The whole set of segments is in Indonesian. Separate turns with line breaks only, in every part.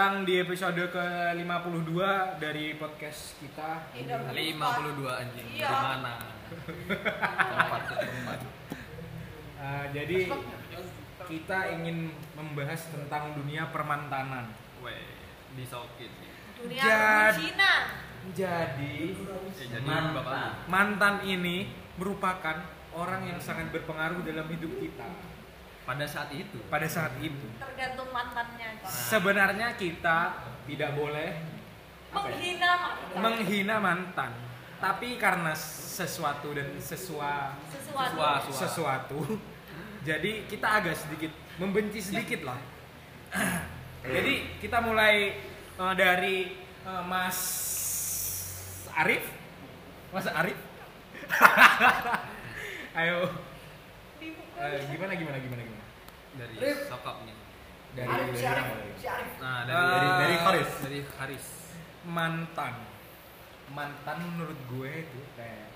episode ke-52 dari podcast kita.
Tidak
52 anjing.
Iya.
Dari mana? Tempat ke tempat.
Eh, jadi kita ingin membahas tentang dunia permantanan.
Weh, disokin.
Dunia
Jad-
Cina.
Jadi
Ya, jadi
Mantap.
bakal
mantan ini merupakan orang yang sangat berpengaruh dalam hidup kita
pada saat itu.
pada saat itu.
Tergantung mantannya. Kak.
Sebenarnya kita tidak boleh apa ya,
Menghina mantan.
menghina mantan. Tapi karena sesuatu dan sesua
sesuatu.
Sesuatu.
sesuatu. Jadi kita agak sedikit membenci sedikit lah. Jadi kita mulai eh, dari eh, Mas Arif. Mas Arif. Ayo
Dibuka.
eh, gimana gimana gimana gimana.
dari
Rip.
sokap nih.
Dari,
Arif, si
dari-
Arif, si Arif.
Nah, dari
Eh,
dari,
dari Haris.
Dari Haris.
mantan. Mantan menurut gue itu kayak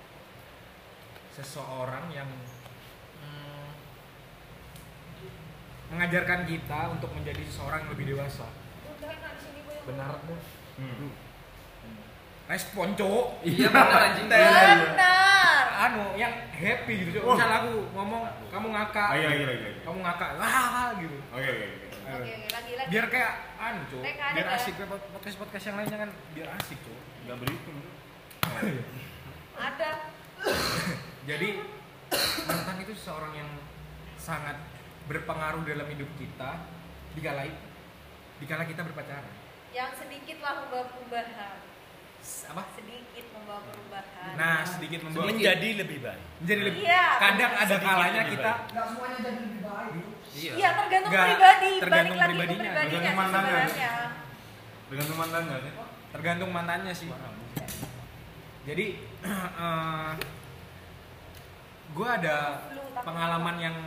seseorang yang mm, mengajarkan kita untuk menjadi seseorang yang lebih dewasa.
Udah, kan, sini gue yang-
Benar tuh. Respon cowok.
Iya benar anjing.
Bener.
Benar.
Anu yang happy gitu. Cok. Misal aku ngomong kamu ngakak.
Ayo, ayo, ayo, ayo.
Kamu ngakak. Wah gitu.
Oke, oke, oke.
Ayo.
Oke, oke, lagi lagi.
Biar kayak anu, Cok.
Kayak aneh,
Biar
ya.
asik kayak podcast-podcast yang lainnya kan biar asik, Cok.
Gak berhitung.
Ada.
Jadi mantan itu seseorang yang sangat berpengaruh dalam hidup kita dikala dikala kita berpacaran.
Yang sedikit lah membawa perubahan.
S- Apa?
Sedikit membawa perubahan.
Nah, sedikit membawa
menjadi lebih baik.
menjadi lebih.
Iya.
Kadang ada kalanya
lebih
kita
Gak semuanya jadi lebih baik.
Iya,
kan?
tergantung
Nggak,
pribadi.
tergantung
Balik lagi ke
pribadinya.
pribadinya
Tergantung mantannya.
sebenarnya.
Dengan teman dan gak sih?
tergantung mantannya sih. Jadi eh, gua ada
Lu tak-
pengalaman yang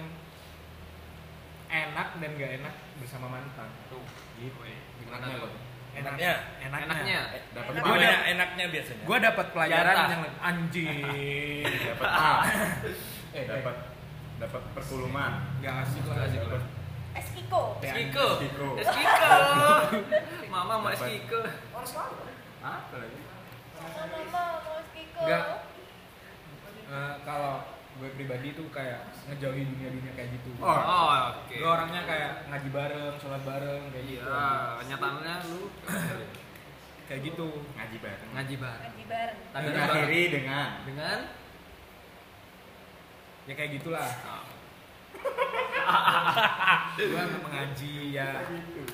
enak dan gak enak bersama mantan.
Tuh. Weh, Gimana
Enaknya
tuh?
apa?
Enaknya, enaknya.
Enaknya.
Eh,
Iya.
Dapat
Enak.
A.
Gua
Gua
ada
dap-
enaknya biasanya.
Gua dapat pelajaran
Jatah.
yang anjing.
Dapat A.
Ah.
Eh,
Dapat dapat perkuluman.
Gak asik lah.
Gak asik lah.
Dapat
Es Kiko.
Eskiko.
Eskiko.
Eskiko. Mama mau
Dapat.
Eskiko.
apa lagi?
Mama, mama, mau Es Kiko.
Nggak. Eh, kalau gue pribadi tuh kayak ngejauhi dunia-dunia kayak gitu.
Oh.
Oh, oke.
Gue orangnya kayak ngaji bareng, sholat bareng kayak gitu.
Iya, kenyataannya lu
Kayak gitu.
Ngaji bareng.
ngaji bareng.
Ngaji bareng.
Tanda
Diakhiri dengan
dengan
Ya kayak gitulah.
Oh.
gue mengaji ya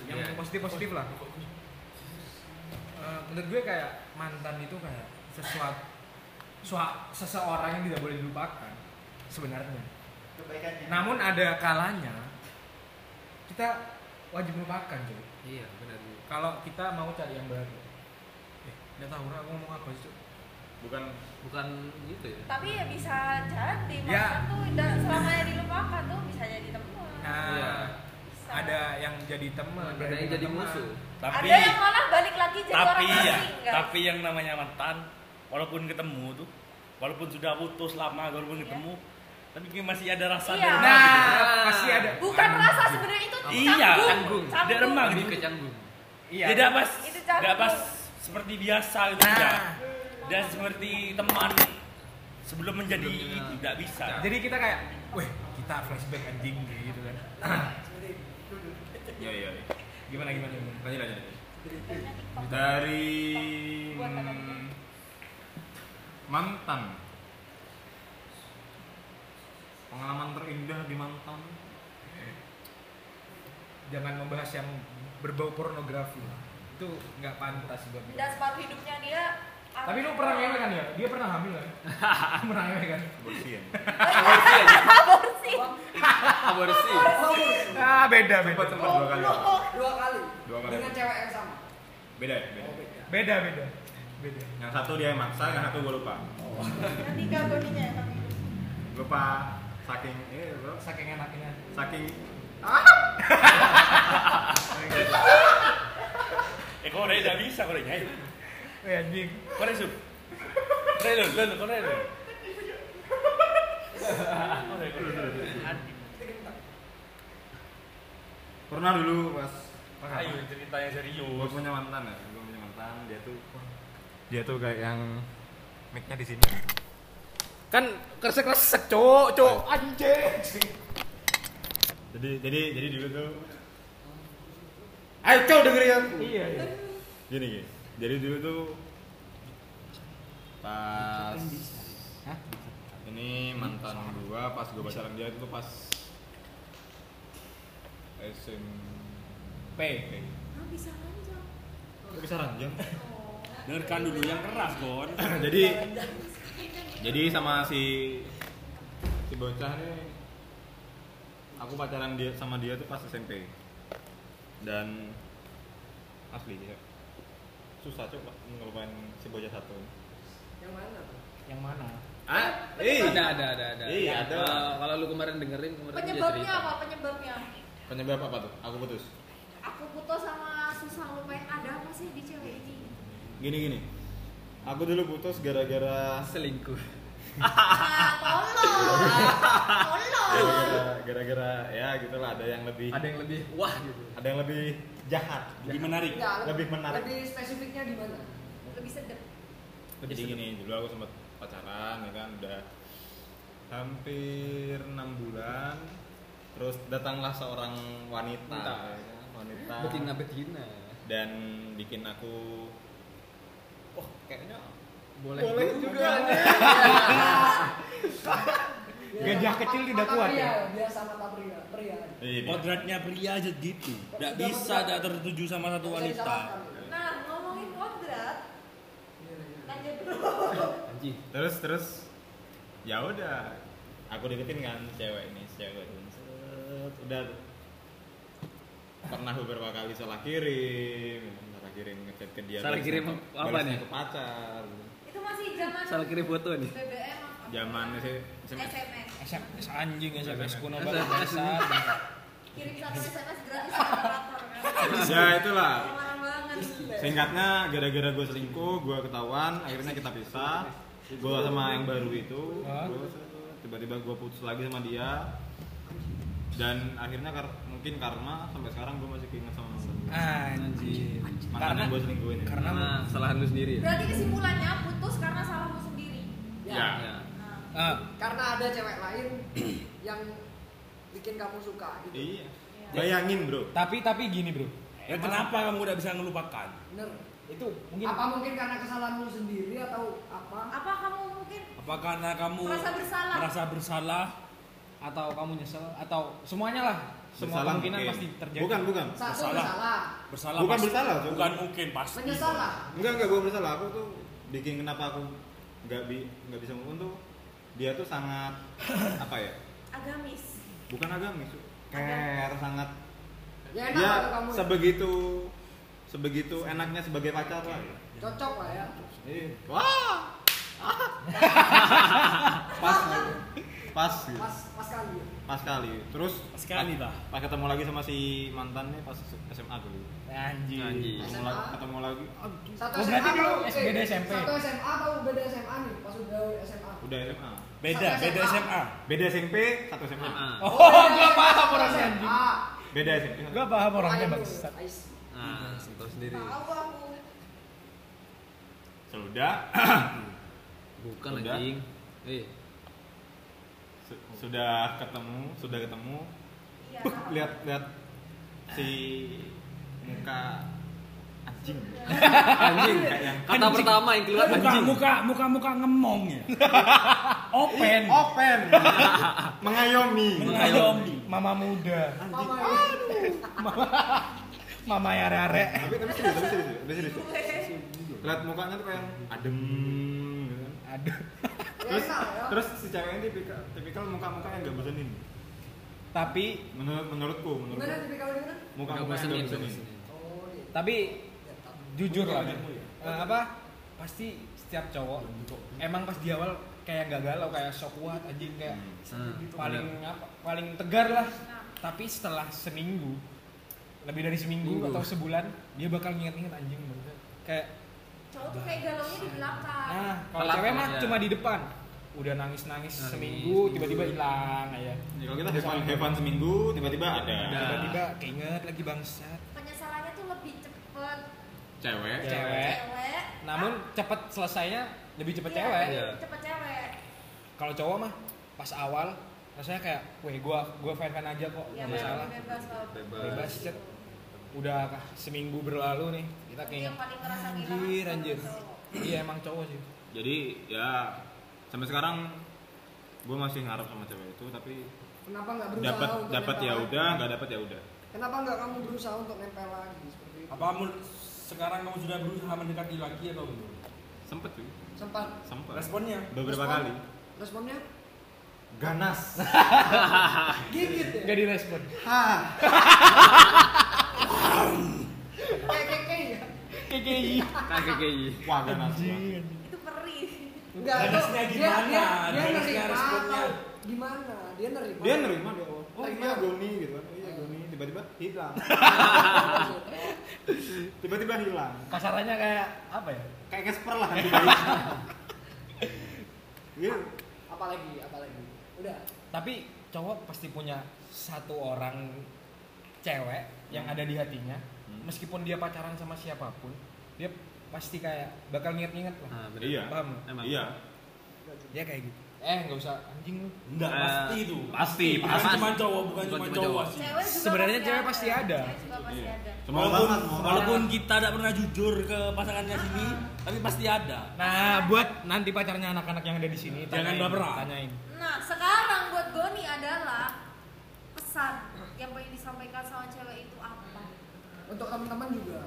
yang
Iya.
positif-positif lah. Eh, menurut gue kayak mantan itu kayak sesuatu sua- seseorang yang tidak boleh dilupakan sebenarnya.
kebaikannya.
Namun ada kalanya kita wajib melupakan cuy.
Iya, benar.
Kalau kita mau cari yang baru. Eh, nggak tahu Ra, aku ngomong apa sih, Cuk?
bukan
Bukan gitu ya.
Tapi ya bisa jadi mantan
Ya.
tuh dan selamanya dilupakan tuh bisa jadi teman.
Nah,
Iya.
Bisa.
ada yang jadi teman,
Ada yang jadi
teman.
musuh.
Tapi
ada yang malah balik lagi jadi
tapi
iya,
orang
ya,
asing nggak?
tapi yang namanya mantan walaupun ketemu tuh, walaupun sudah putus lama, walaupun
Iya.
ketemu, tapi masih ada rasa
Iya.
derma
Nah,
gitu.
pasti ada. Nah,
bukan rasa sebenarnya itu
Iya,
canggung
canggung. Derma
Tapi
gitu.
kecanggung.
Iya.
Tidak pas,
Itu canggung.
tidak pas seperti biasa gitu
Nah.
tidak. Dan seperti teman sebelum menjadi
Sebelumnya.
itu tidak bisa.
Jadi kita kayak, "Weh, kita flashback anjing" kayak gitu kan.
ya ya. ya.
Gimana gimana? gimana?
Lanjut lanjut. Dari hmm, mantan. Pengalaman terindah di mantan.
Jangan membahas yang berbau pornografi. Itu nggak pantas buat
dan
kita.
sebab hidupnya dia ah,
Tapi lu pernah ngewe kan ya? Dia pernah hamil kan? pernah ngewe kan?
Bersihin.
Aborsi aja.
aborsi
Aborsi.
Ah, beda beda.
Sempat sempat dua kali. ya?
Goblok.
dua kali
Dua kali.
dengan cewek yang sama
Beda ya, beda.
Beda beda. Beda.
Yang satu dia yang maksa, yang satu gue lupa.
yang tiga ya, kodinya tapi
Lupa saking eh bro,
Saking enaknya.
saking
Eh kau udah tidak bisa Eh, kau udah nyai.
Weh anjing.
Kau udah sub. Kau udah lulun, kau udah lulun. Kau udah- kau udah-
pernah dulu pas
Makanya.
Ayo ceritanya
gue
serius.
punya mantan ya gue punya mantan dia tuh dia tuh kayak yang mic-nya di sini
Kan kresek-kresek, cok, cok,
Iya,
anjing.
jadi jadi jadi dulu tuh
Ayo, cok, dengerin aku. Iya, iya.
gini gini jadi dulu tuh pas ini mantan gua pas gua pacaran dia itu pas SMP
Ah, bisa Oh. panjang.
Kok bisa ranjang
Dengarkan dulu yang keras, Gon.
jadi jadi sama si si bocah nih aku pacaran dia sama dia tuh pas SMP dan asli ya susah coba ngelupain si bocah satu
Yang mana?
ah
Ada, ada, ada, ada.
Iya, ada.
Eh, kalau lu kemarin dengerin kemarin dia
Penyebabnya
cerita.
apa? Penyebabnya?
penyebab apa tuh aku putus
Aku putus sama susah lumayan ada apa sih di cewek ini?
gini gini aku dulu putus gara-gara
Selingkuh.
Nah,
Ah, tolong. Tolong.
gara-gara- gara-gara ya gitulah ada yang lebih
Ada yang lebih wah gitu.
ada yang lebih jahat
Lebih menarik.
Enggak,
Lebih menarik.
Lebih spesifiknya di mana?
Lebih sedap.
Jadi gini, dulu aku sempat pacaran ya kan udah hampir enam bulan. Terus datanglah seorang wanita,
Wanita.
ya kan, wanita
Betina betina.
dan bikin aku oh kayaknya
Boleh,
Boleh juga,
Gajah kecil tidak kuat ya?
Biasa mata pria, pria.
ini.
Kodratnya pria aja gitu. Tidak
Tidak
bisa
bisa.
tidak tertuju sama satu
Bisa
wanita.
disamakan.
Nah, ngomongin kodrat,
Iya, iya.
lanjut dulu.
Anjing.
Terus terus ya udah aku deketin kan cewek ini, si cewek ini. Set, Udah pernah beberapa kali salah kirim, salah kirim ngechat ke dia.
Salah
balasnya
kirim
ke-
apa
balasnya
nih?
Ke pacar.
Itu masih zaman
Salah kirim foto nih.
BBM apa?
Zaman sih
SMS.
SMS anjing SMS kuno
SMS.
banget dasar.
Kirim satu SMS gratis sama operator kan.
ya itulah
Lamaran banget.
singkatnya gara-gara gue selingkuh gue ketahuan akhirnya kita pisah gue sama yang baru itu
Hah?
gua se- tiba-tiba gue putus lagi sama dia dan akhirnya kar- mungkin karma sampai sekarang gue masih keinget sama mantan gua.
Anjing.
mantan
Karena
yang gue selingkuhin ya.
karena
Karena kesalahan lu sendiri ya.
Berarti kesimpulannya putus karena salahmu sendiri.
Ya.
Ya.
Ya.
Nah,
ah,
Karena ada cewek lain yang bikin kamu suka gitu.
iya
Iya.
bayangin bro
tapi tapi gini, Bro. Ya kenapa kamu tidak bisa melupakan?
Bener.
Itu mungkin
Apa mungkin karena kesalahanmu sendiri atau apa?
apa kamu mungkin
apa karena kamu
Merasa bersalah.
merasa bersalah atau kamu nyesel atau semuanya lah semua
Bersalah
kemungkinan
mungkin.
pasti terjadi
bukan bukan
Satu
Bersalah.
bersalah,
bersalah
Bukan
pasti.
bersalah, Cuk.
bukan mungkin pasti
menyesal lah.
enggak enggak gue bersalah aku tuh bikin kenapa aku nggak bi nggak bisa move on tuh dia tuh sangat apa ya
agamis.
bukan agamis Cuk. care sangat
Ya enak
ya
lah kamu.
sebegitu sebegitu enaknya sebagai pacar lah
Cocok lah ya.
Iya. wah pas pas gitu.
Pas pas kali.
pas kali terus
Sekali, Pak.
pas, pas ketemu lagi sama si mantannya pas SMA dulu
anjing,
Anjing.
ketemu
SMA?
lagi ketemu lagi
Satu
Oh, berarti dulu
eh,
SD, SMP.
Satu SMA atau beda SMA nih? Pas udah SMA.
udah SMA
beda
Satu
beda
SMA.
SMA
beda SMP satu SMA
Ah.
oh,
beda
gua
SMA,
paham
satu
orangnya
SMA.
anjing
beda SMP
gua paham orangnya
Ayo,
bangsat
Ais. Ya
Ah, sentuh sendiri.
Tahu aku.
sudah
Bukan
Udah.
anjing. Eh,
su- sudah ketemu sudah ketemu
Iya.
Buk,
tahu.
lihat lihat si muka anjing
anjing.
ya.
Kayak-
Kata pertama yang keluar
muka
anjing.
muka muka muka ngemong ya open
open mengayomi
mengayomi mama muda
Mama.
mama yare-yare
tapi tapi serius tapi serius tapi serius lihat mukanya tuh kayak adem gitu kan.
aduh
Ya
terus
enak lah ya.
terus si ceweknya tipikal tipikal muka-muka yang nggak bosenin
tapi
menurut menurutku menurutku
Gimana tipikal ini kan?
muka-muka
Enggak
yang
bosan
nggak
nih,
bosenin Hmm.
Oh, iya.
tapi
Ya, tahu.
jujur lah
Mulia,
men.
mulia.
Eh, apa pasti setiap cowok emang pas di awal kayak gak galau kayak sok kuat anjing kayak
Hmm.
Ah,
paling apa paling tegar lah
Nah,
tapi setelah seminggu lebih dari seminggu
Minggu.
atau sebulan dia bakal nginget-nginget anjing bener. kayak
cowok tuh kayak galaunya di belakang.
nah kalau
Telat
cewek mah
aja.
cuma di depan udah nangis-nangis
Nangis,
seminggu
seminggu.
tiba-tiba hilang aja
Ya, kalau kita Hevan Hevan seminggu tiba-tiba ada
Ada.
tiba-tiba keinget lagi bangsat
Penyesalan cepet
cewek
Cewek.
cewek
Eh,
Ah,
Namun cepet selesainya lebih cepet
Iya,
cewek.
lebih
Iya.
cepet cewek
Kalau cowok mah pas awal rasanya kayak, "Weh, gua gua fan-fan aja kok,
ya
nggak masalah."
bebas
Ah,
kalau
Bebas.
Bebas cet. Udah kah, seminggu berlalu nih, kita
Tapi
kayak
yang paling ngerasa
Anjir,
kehilangan sama
anjir.
cowok.
iya emang cowok sih.
jadi ya sampai sekarang gue masih ngarep sama cewek itu tapi
Kenapa nggak berusaha
dapat
untuk
dapat
nempel
ya
lagi?
udah nggak dapat ya udah
Kenapa nggak kamu berusaha untuk nempel lagi seperti itu?
Apa kamu sekarang kamu sudah berusaha mendekati lagi atau belum?
sempet tuh
Sempat
sempet
Responnya?
beberapa
Respon-
kali
Responnya?
Ganas.
Gigit ya?
Gak direspon.
Hah. Kayak kayak kayak ya?
KKI.
Kayak kayak
wah ganas
itu perih
Enggak,
Ganasnya
kok.
gimana?
Dia, dia, dia
Ganasnya
nerima
responnya.
atau gimana? Dia nerima.
dia nerima dia oh, oh
Nerima.
iya goni gitu kan oh iya goni tiba-tiba hilang tiba-tiba hilang
Kasarannya kayak apa ya?
kayak kesper lah hantu bayi. Iya.
apalagi, apalagi. Udah.
Tapi cowok pasti punya satu orang cewek yang ada di hatinya,
Hmm.
meskipun dia pacaran sama siapapun, dia pasti kayak bakal nginget-nginget lah.
Nah, bener.
iya
Paham?
Emang.
iya
Dia kayak gitu. Eh, nggak usah anjing lu.
Enggak,
Eh,
pasti itu.
pasti,
Bukan
pasti.
cuma cowok, bukan,
Bukan
cuma
cuma
cowok.
cowok.
sih.
cewek juga
Sebenarnya cewek pasti ada.
cewek juga pasti ada
Semua
Walaupun,
banget, semua
walaupun kita tidak pernah jujur ke pasangannya sini, tapi pasti ada.
Nah, buat nanti pacarnya anak-anak yang ada di sini,
Jangan
tanyain,
baperan.
Tanyain.
nah sekarang buat Goni adalah pesan yang pengen disampaikan sama cewek itu apa
Untuk teman-teman juga.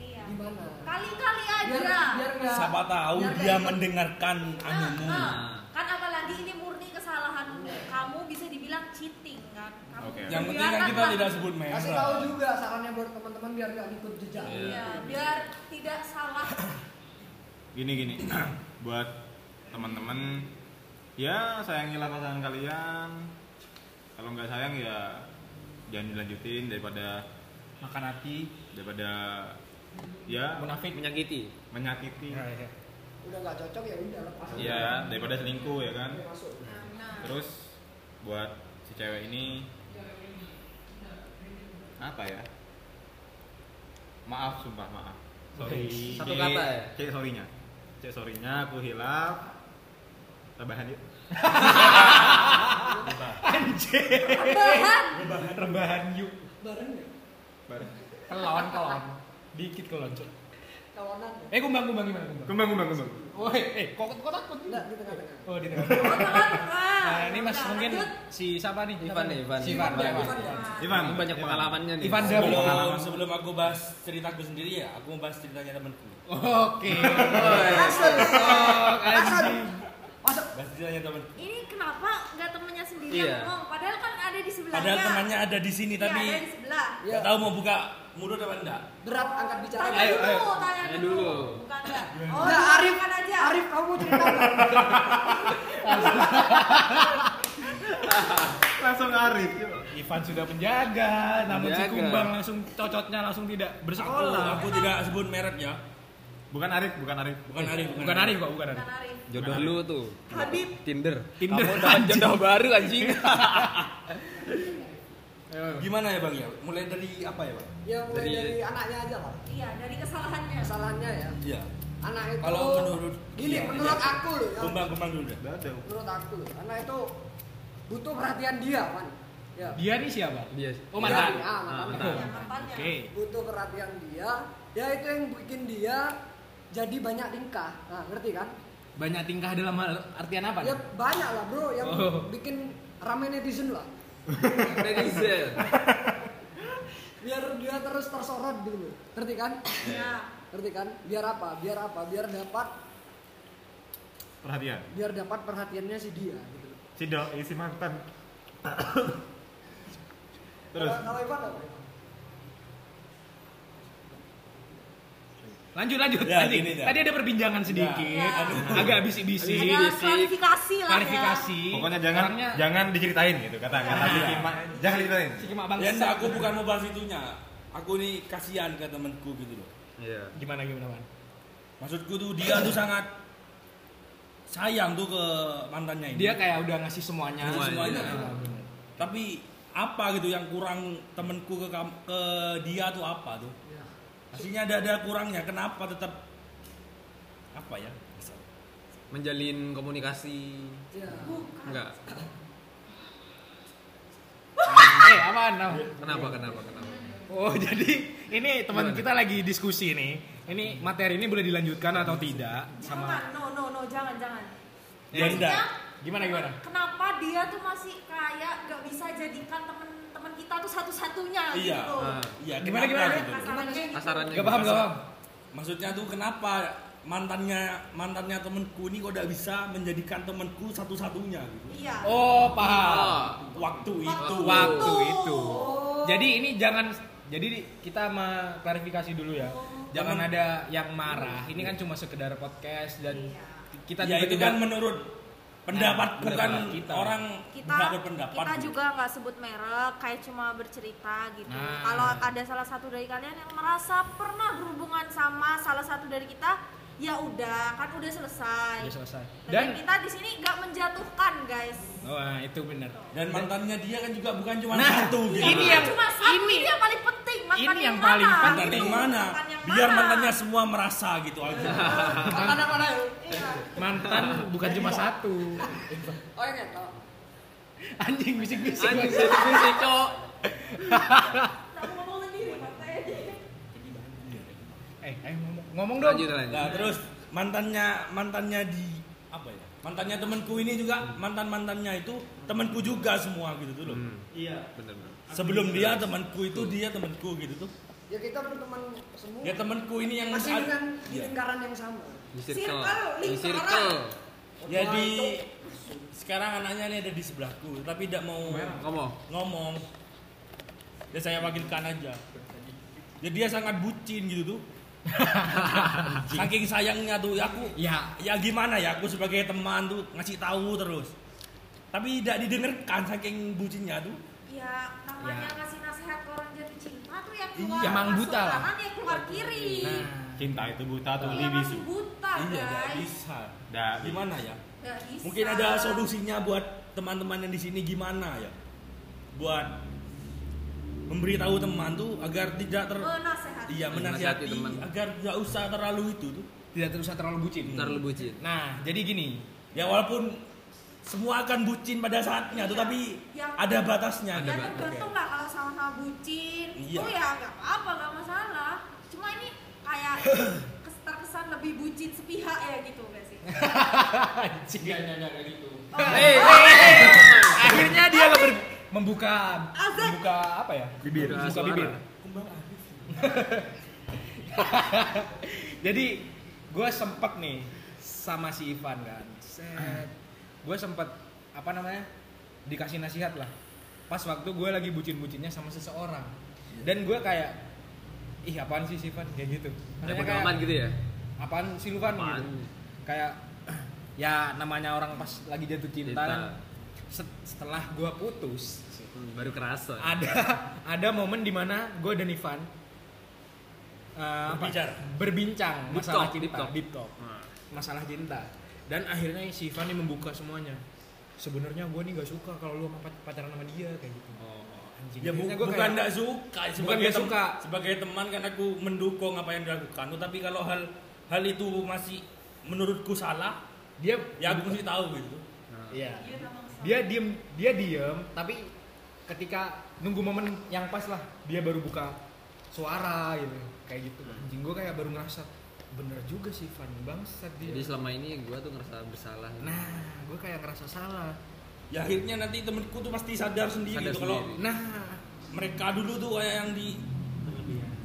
iya
Gimana?
kali-kali aja
Biar biar enggak
Siapa tahu
biar
dia
kayak-
mendengarkan anumu.
Ah, ah. kan apalagi ini murni kesalahanmu kamu bisa dibilang cheating kan kamu
Oke.
Yang penting kan kita
biarkanlah.
tidak sebut
Kasih tahu
merah.
juga sarannya buat teman-teman biar nggak ikut jejak.
iya biar tidak salah
gini gini buat teman-teman ya sayangilah pasangan kalian kalau nggak sayang ya jangan dilanjutin daripada
Makan hati,
daripada ya
munafik.
Menyakiti.
menyakiti
Ya, ya.
Udah nggak cocok ya udah lepas.
ya daripada selingkuh ya kan
Masuk.
nah
terus buat si cewek ini apa ya maaf sumpah maaf sorry
Satu kata ya?
cek sorrynya cek sorrynya aku hilaf tambahan yuk
Nah, bahan
Rebahan yuk.
Bareng ya?
Bareng.
Kelon, kelon. Dikit kelon, Cuk.
Kawanan.
Eh,
ya?
kumbang, kumbang gimana kumbang?
kembang kembang kembang
Woi, eh, kok kok takut?
Enggak, di tengah-tengah.
Oh, di tengah. Nah, ini Mas
Udah,
mungkin
lanjut.
si siapa nih?
Ivan nih, Ivan.
Si Ivan.
Ivan.
Ivan.
Ivan ya?
Ivan
Ini banyak
Ivan.
pengalamannya nih.
Ivan Dab.
Sebelum, sebelum aku bahas ceritaku sendiri ya, aku mau bahas ceritanya temanku.
Oke.
Asal.
Sok,
Asal.
anjing.
Masuk.
Bahas ceritanya temanku.
Nah, ini kenapa nggak temennya sendiri
Iya.
yang ngomong padahal kan ada di sebelahnya
Padahal temannya ada di sini,
Iya,
tapi
ada di sebelah
Iya,
nggak tahu mau buka mulut apa enggak.
Berat angkat bicara.
tanya
Ayo,
dulu
ayo.
tanya
Tanya
dulu
dulu.
bukan enggak
Iya.
oh
Enggak, Iya, Arif
kan aja
Arif, kamu mau cerita nggak?
langsung Arif yuk.
Ivan sudah menjaga, namun si
Menjaga.
kumbang langsung cocotnya langsung tidak
Aku,
bersekolah.
aku tidak sebut merek ya.
bukan Arif bukan Arif
Bukan Arif,
Bukan Arif kok, bukan Arif.
bukan Arif
Jodoh lu tuh.
Habib
Tinder.
Tinder.
Kamu dapat jodoh baru anjing.
Gimana ya bang ya? Mulai dari apa ya bang?
Ya mulai
Dari-
dari anaknya aja lah.
iya dari kesalahannya
Kesalahannya ya.
Iya.
Anak itu.
Kalau menurut
Gini,
iya,
menurut
iya.
aku loh ya.
Kumbang-kumbang dulu dah.
Gak ada
Menurut aku loh. Anak itu butuh perhatian dia, man. Ya.
Dia nih siapa?
Dia.
Oh, mantan.
Dia, ah, mantan.
Ah,
mantan.
Iya, mantannya.
Oke.
Butuh perhatian dia. Ya itu yang bikin dia jadi banyak tingkah. Nah, ngerti kan?
Banyak tingkah dalam hal artian apa?
Ya banyak lah bro yang
Oh.
bikin rame netizen lah.
Netizen.
Biar dia terus tersorot dulu. Ngerti kan?
Iya.
Ngerti kan? Biar apa? Biar apa? Biar dapat
perhatian
biar dapat perhatiannya si dia gitu. loh.
si dok eh, si mantan terus
Kalau kalau Ivan apa? Ivan?
Lanjut, lanjut.
Ya,
lanjut.
gini dah.
Tadi ada perbincangan sedikit,
Ya.
agak bisik-bisik.
ada klarifikasi lah ya.
Klarifikasi.
pokoknya jangan
Orangnya
jangan diceritain gitu kata kata si Ima- jangan diceritain
si Kimak Bangsa.
Ya enggak, aku bukan mau bahas itunya. Aku nih kasihan ke temanku gitu loh.
Iya.
Gimana gimana, Man?
Maksudku tuh dia tuh sangat sayang tuh ke mantannya ini.
Dia kayak udah ngasih semuanya.
Ngasih semuanya.
Iya, bener. Iya.
Tapi apa gitu yang kurang temanku ke kam- ke dia tuh apa tuh?
Ya.
Pastinya ada ada kurangnya. Kenapa tetap apa
Iya.
ya?
Menjalin komunikasi.
Iya.
Enggak.
Eh, aman. aman.
Kenapa? Kenapa? Kenapa?
Oh, jadi ini teman
Gimana?
kita lagi diskusi nih. Ini materi ini boleh dilanjutkan atau tidak sama
Jangan, no no no, jangan jangan.
Janda.
gimana gimana?
Kenapa dia tuh masih kayak gak bisa jadikan temen-temen kita tuh satu-satunya
Iya.
gitu.
Nah,
Iya,
Gimana,
kenapa
Ah, gimana?
gitu?
Kasarannya gitu.
kasarannya
Gak paham gak paham.
Maksudnya tuh kenapa mantannya mantannya temenku ini kok tidak bisa menjadikan temenku satu-satunya gitu.
Iya.
Oh, paham.
Ah,
Waktu itu.
Waktu itu.
Oh.
Jadi ini jangan jadi di- kita ma- klarifikasi dulu ya. Jangan
Temen-
ada yang marah. Ini kan cuma sekedar podcast dan
Iya.
kita
ya itu
tiba-tiba
kan menurut
Nah,
pendapat
pendapat
bukan
kita.
orang gitu.
kita
berpendapat berpendapat.
kita
gitu.
juga nggak sebut merek kayak cuma bercerita gitu
Nah.
kalau ada salah satu dari kalian yang merasa pernah berhubungan sama salah satu dari kita ya udah kan udah selesai
Udah Ya, selesai.
dan
Dan
kita di sini nggak menjatuhkan guys
wah itu benar.
dan mantannya dia kan juga bukan cuma
Nah,
satu gitu.
ini yang-
cuma satu
ini-
ini yang paling penting mantan
ini yang paling
mana?
mantan yang mana?
Mantan yang
Biar
mana?
mantannya semua merasa gitu aja.
Nah.
Makan apa nih?
Iya.
Oh, Mantan bukan cuma satu.
Oh ingat tau.
Anjing bisik-bisik.
Anjing jadi kunci, Cok.
Kamu ngomong sendiri makanya
Eh, ayo ngomong, ngomong dong.
Lanjut lanjut.
Nah, terus mantannya mantannya di apa ya? Mantannya temanku ini
Hmm.
juga mantan-mantannya itu temanku juga semua gitu tuh loh.
Iya, benar-benar.
Sebelum dia temanku itu dia temanku gitu tuh.
Ya kita berteman semua.
Ya temanku ini yang
Masih dengan di
Iya.
lingkaran yang sama.
Di circle.
Circle,
Di
lingkaran.
circle.
Wah,
Ya
itu
di sekarang anaknya ini ada di sebelahku tapi tidak mau
Ngomong.
ngomong. Ya saya wakilkan aja. Ya dia sangat bucin gitu tuh. Saking sayangnya tuh ya aku
Ya,
ya gimana ya aku sebagai teman tuh ngasih tahu terus. Tapi tidak didengarkan saking bucinnya tuh.
ya namanya
Ya.
ngasih nasihat ke orang jatuh cinta tuh ya keluar
Iya, emang
masuk
buta lah.
kanan ya keluar kiri
Cinta itu buta tuh
Iya,
di bisu.
masih buta
Nah, Iya, tidak
guys
bisa.
Dah, gitu.
Gimana ya?
Nggak bisa.
Mungkin ada solusinya buat teman-teman yang di sini gimana ya? Buat memberitahu teman tuh agar tidak
Eh,
ter
Menasehat.
iya
Menasihati
menasihati
teman.
agar tidak usah terlalu itu tuh.
tidak terus terlalu bucin.
Terlalu bucin.
Nah, jadi gini.
Ya walaupun semua akan bucin pada saatnya tuh tapi
Yang-
ada batasnya.
Ya tergantung lah kalau sama-sama bucin.
Iya.
Itu ya nggak apa-apa, nggak masalah. Cuma ini kayak kes- terkesan lebih bucin sepihak ya gitu nggak sih? Oh,
Eh.
Hey, hey, hey. Akhirnya dia ber membuka
Azan.
membuka apa ya?
Bibir.
Membuka bibir. jadi gue sempet nih sama si Ivan kan. Set. Gue sempet apa namanya? Dikasih nasihat lah. Pas waktu gue lagi bucin-bucinnya sama seseorang. Dan gue kayak ih apaan sih si Ivan kayak gitu.
Ada
Maksudnya kayak,
pengalaman gitu ya?
apaan sih lu Van?
Apaan?
Gitu. Kayak ya namanya orang pas lagi jatuh cinta,
Cinta.
kan. Set- setelah gua putus
Hmm, Baru kerasa.
ada ada momen dimana gue dan Ivan eh, apa?
Berbicara.
berbincang
Deep
masalah
talk,
cinta
deep talk.
deep talk. masalah cinta dan akhirnya si Ivan ini membuka semuanya sebenarnya gue nih gak suka kalau lu sama pac- pacaran sama dia kayak gitu
Oh,
anjing
Ya bu-
Akhirnya gua
bukan
kayak-
tidak suka sebagai
nggak
tem-
suka.
sebagai teman kan aku mendukung apa yang dilakukan tuh tapi kalau hal hal itu masih menurutku salah
dia
ya aku mesti tahu gitu.
Nah,
iya
iya, emang sama.
dia diem dia diem tapi ketika nunggu momen yang pas lah dia baru buka suara gitu kayak gitu anjing gue kayak baru ngerasa bener juga sih Van bangsat
Jadi
dia
selama ini gue tuh ngerasa bersalah.
nah gue kayak ngerasa salah
Ya akhirnya nanti temenku tuh pasti sadar
Sadar
sendiri tuh kalau
sendiri.
nah
mereka dulu tuh kayak yang di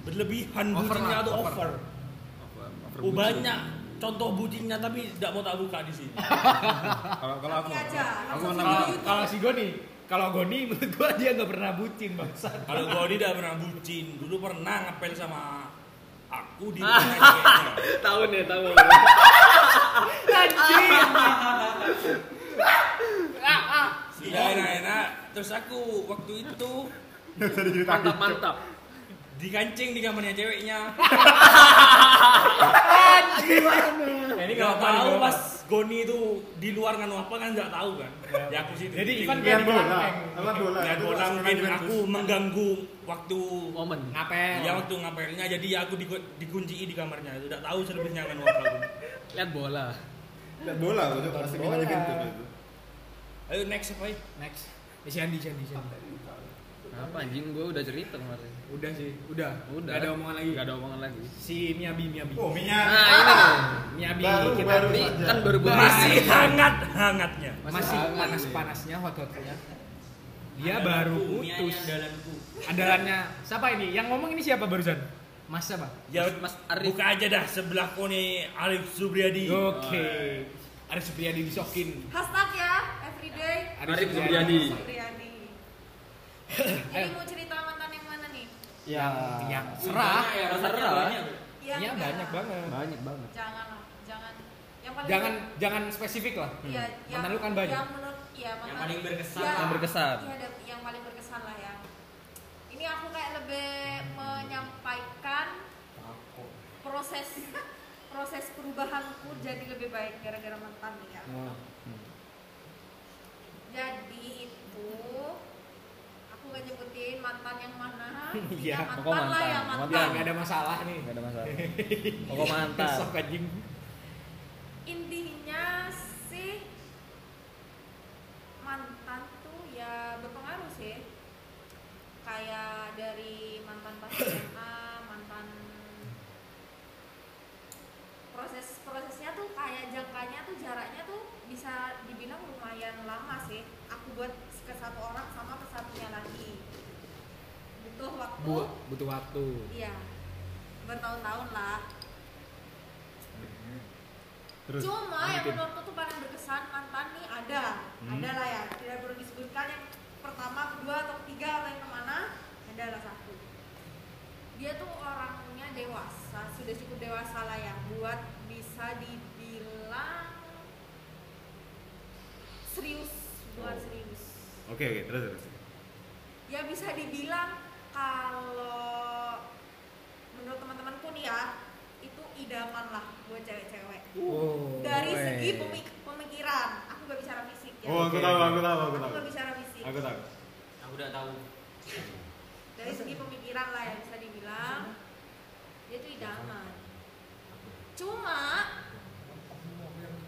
berlebihan
Over
bucinnya
lah,
tuh
over.
over.
Apa- apa
Oh,
bucin.
banyak contoh bucinnya tapi tidak mau tak buka di sini.
Kalau kalau aku,
Hati aja, langsung
aku pernah
kalau kalau si Goni kalau Goni menurut gue dia nggak pernah bucin bangsat
kalau gua tidak pernah bucin, dulu pernah ngepel sama aku di
Ah.
rumahnya ceweknya.
Tahun ya tahun.
Iya enak-enak. Terus aku waktu itu
Mantap mantap.
dikancing di kamarnya ceweknya.
ini
Gak tahu pas Goni itu di luar kan apa kan nggak tahu kan. Ya aku sih.
Iya. Jadi Ivan kan-
Lihat bola, apa bola?
Ya
Itu
bola
Arsenal
mungkin
Juventus.
aku mengganggu waktu
momen
Ngapel.
ya waktu ngapelnya jadi ya aku diku- dikunci di kamarnya itu nggak tahu servisnya kan apa aku.
lihat bola
Lihat bola, itu pasti final
bola.
Juventus itu.
Ayo next apa ya?
Next. Eh, Shandy, Shandy, Shandy.
apa anjing gue udah cerita kemarin
Udah sih, udah.
udah
Nggak ada omongan lagi.
nggak ada omongan lagi
Si Miyabi, Miyabi.
Oh, minyak.
nah ini nih
Miyabi
baru
kita
baru
ini
saja.
kan baru baru
Nah.
Masih hangat hangatnya.
masih
hangat nih.
panas-panasnya hot hotnya. Dia baru utus andalannya. Siapa ini? Yang ngomong ini siapa barusan? Mas siapa?
Ya
Mas
Mas
Arif.
Buka aja dah sebelah kone Arif Subriyadi. Ah.
Oke. Ada Supriyadi disokin.
Hashtag ya, everyday
Arif Supriyadi.
Supriyadi. Jadi mau cerita mantan yang mana nih?
Yang yang serah.
Serah.
Yang
Iya banyak banget.
banyak banget
Jangan, lah, jangan. Yang paling
Jangan jangan spesifik lah.
Iya,
Hmm.
yang-
Mantan lu kan banyak.
Yang menurut iya, mantan-
Yang paling berkesan
Iya,
lah.
Yang berkesan.
Iya, ada- yang paling berkesan lah ya. Ini aku kayak lebih menyampaikan proses proses perubahanku jadi lebih baik gara-gara mantan nih ya. Jadi itu aku gak nyebutin mantan yang mana.
Iya,
Ya, mantan,
pokok
lah ya
mantan.
mantan.
Ya, nggak ada masalah nih.
nggak ada masalah pokok mantap
Sok anjing.
Intinya sih mantan tuh ya berpengaruh sih. Kayak dari mantan pas SMA, mantan proses prosesnya tuh kayak jangkanya tuh jaraknya tuh bisa dibilang lumayan lama sih. Aku buat ke satu orang sama ke satunya lagi. Butuh waktu.
Bu, butuh waktu.
Iya, bertahun-tahun lah.
Terus,
Cuma yang
lanjutin.
menurutku tuh paling berkesan mantan nih ada, ada lah ya. Tidak perlu disebutkan yang pertama, kedua atau ketiga atau yang kemana, ada lah satu. Dia tuh orangnya dewasa, sudah cukup dewasa lah ya, buat bisa dibilang serius, buat serius.
Oke, oke, terus terus.
ya bisa dibilang kalau menurut teman-temanku nih ya itu idaman lah buat cewek-cewek
Oh,
dari
eh.
segi pemik- pemikiran aku gak bicara fisik ya
Oh, aku tahu, aku tahu, aku
aku
tahu.
gak bicara fisik
Aku tahu.
Aku udah tahu.
dari segi pemikiran lah ya bisa dibilang dia tuh idaman cuma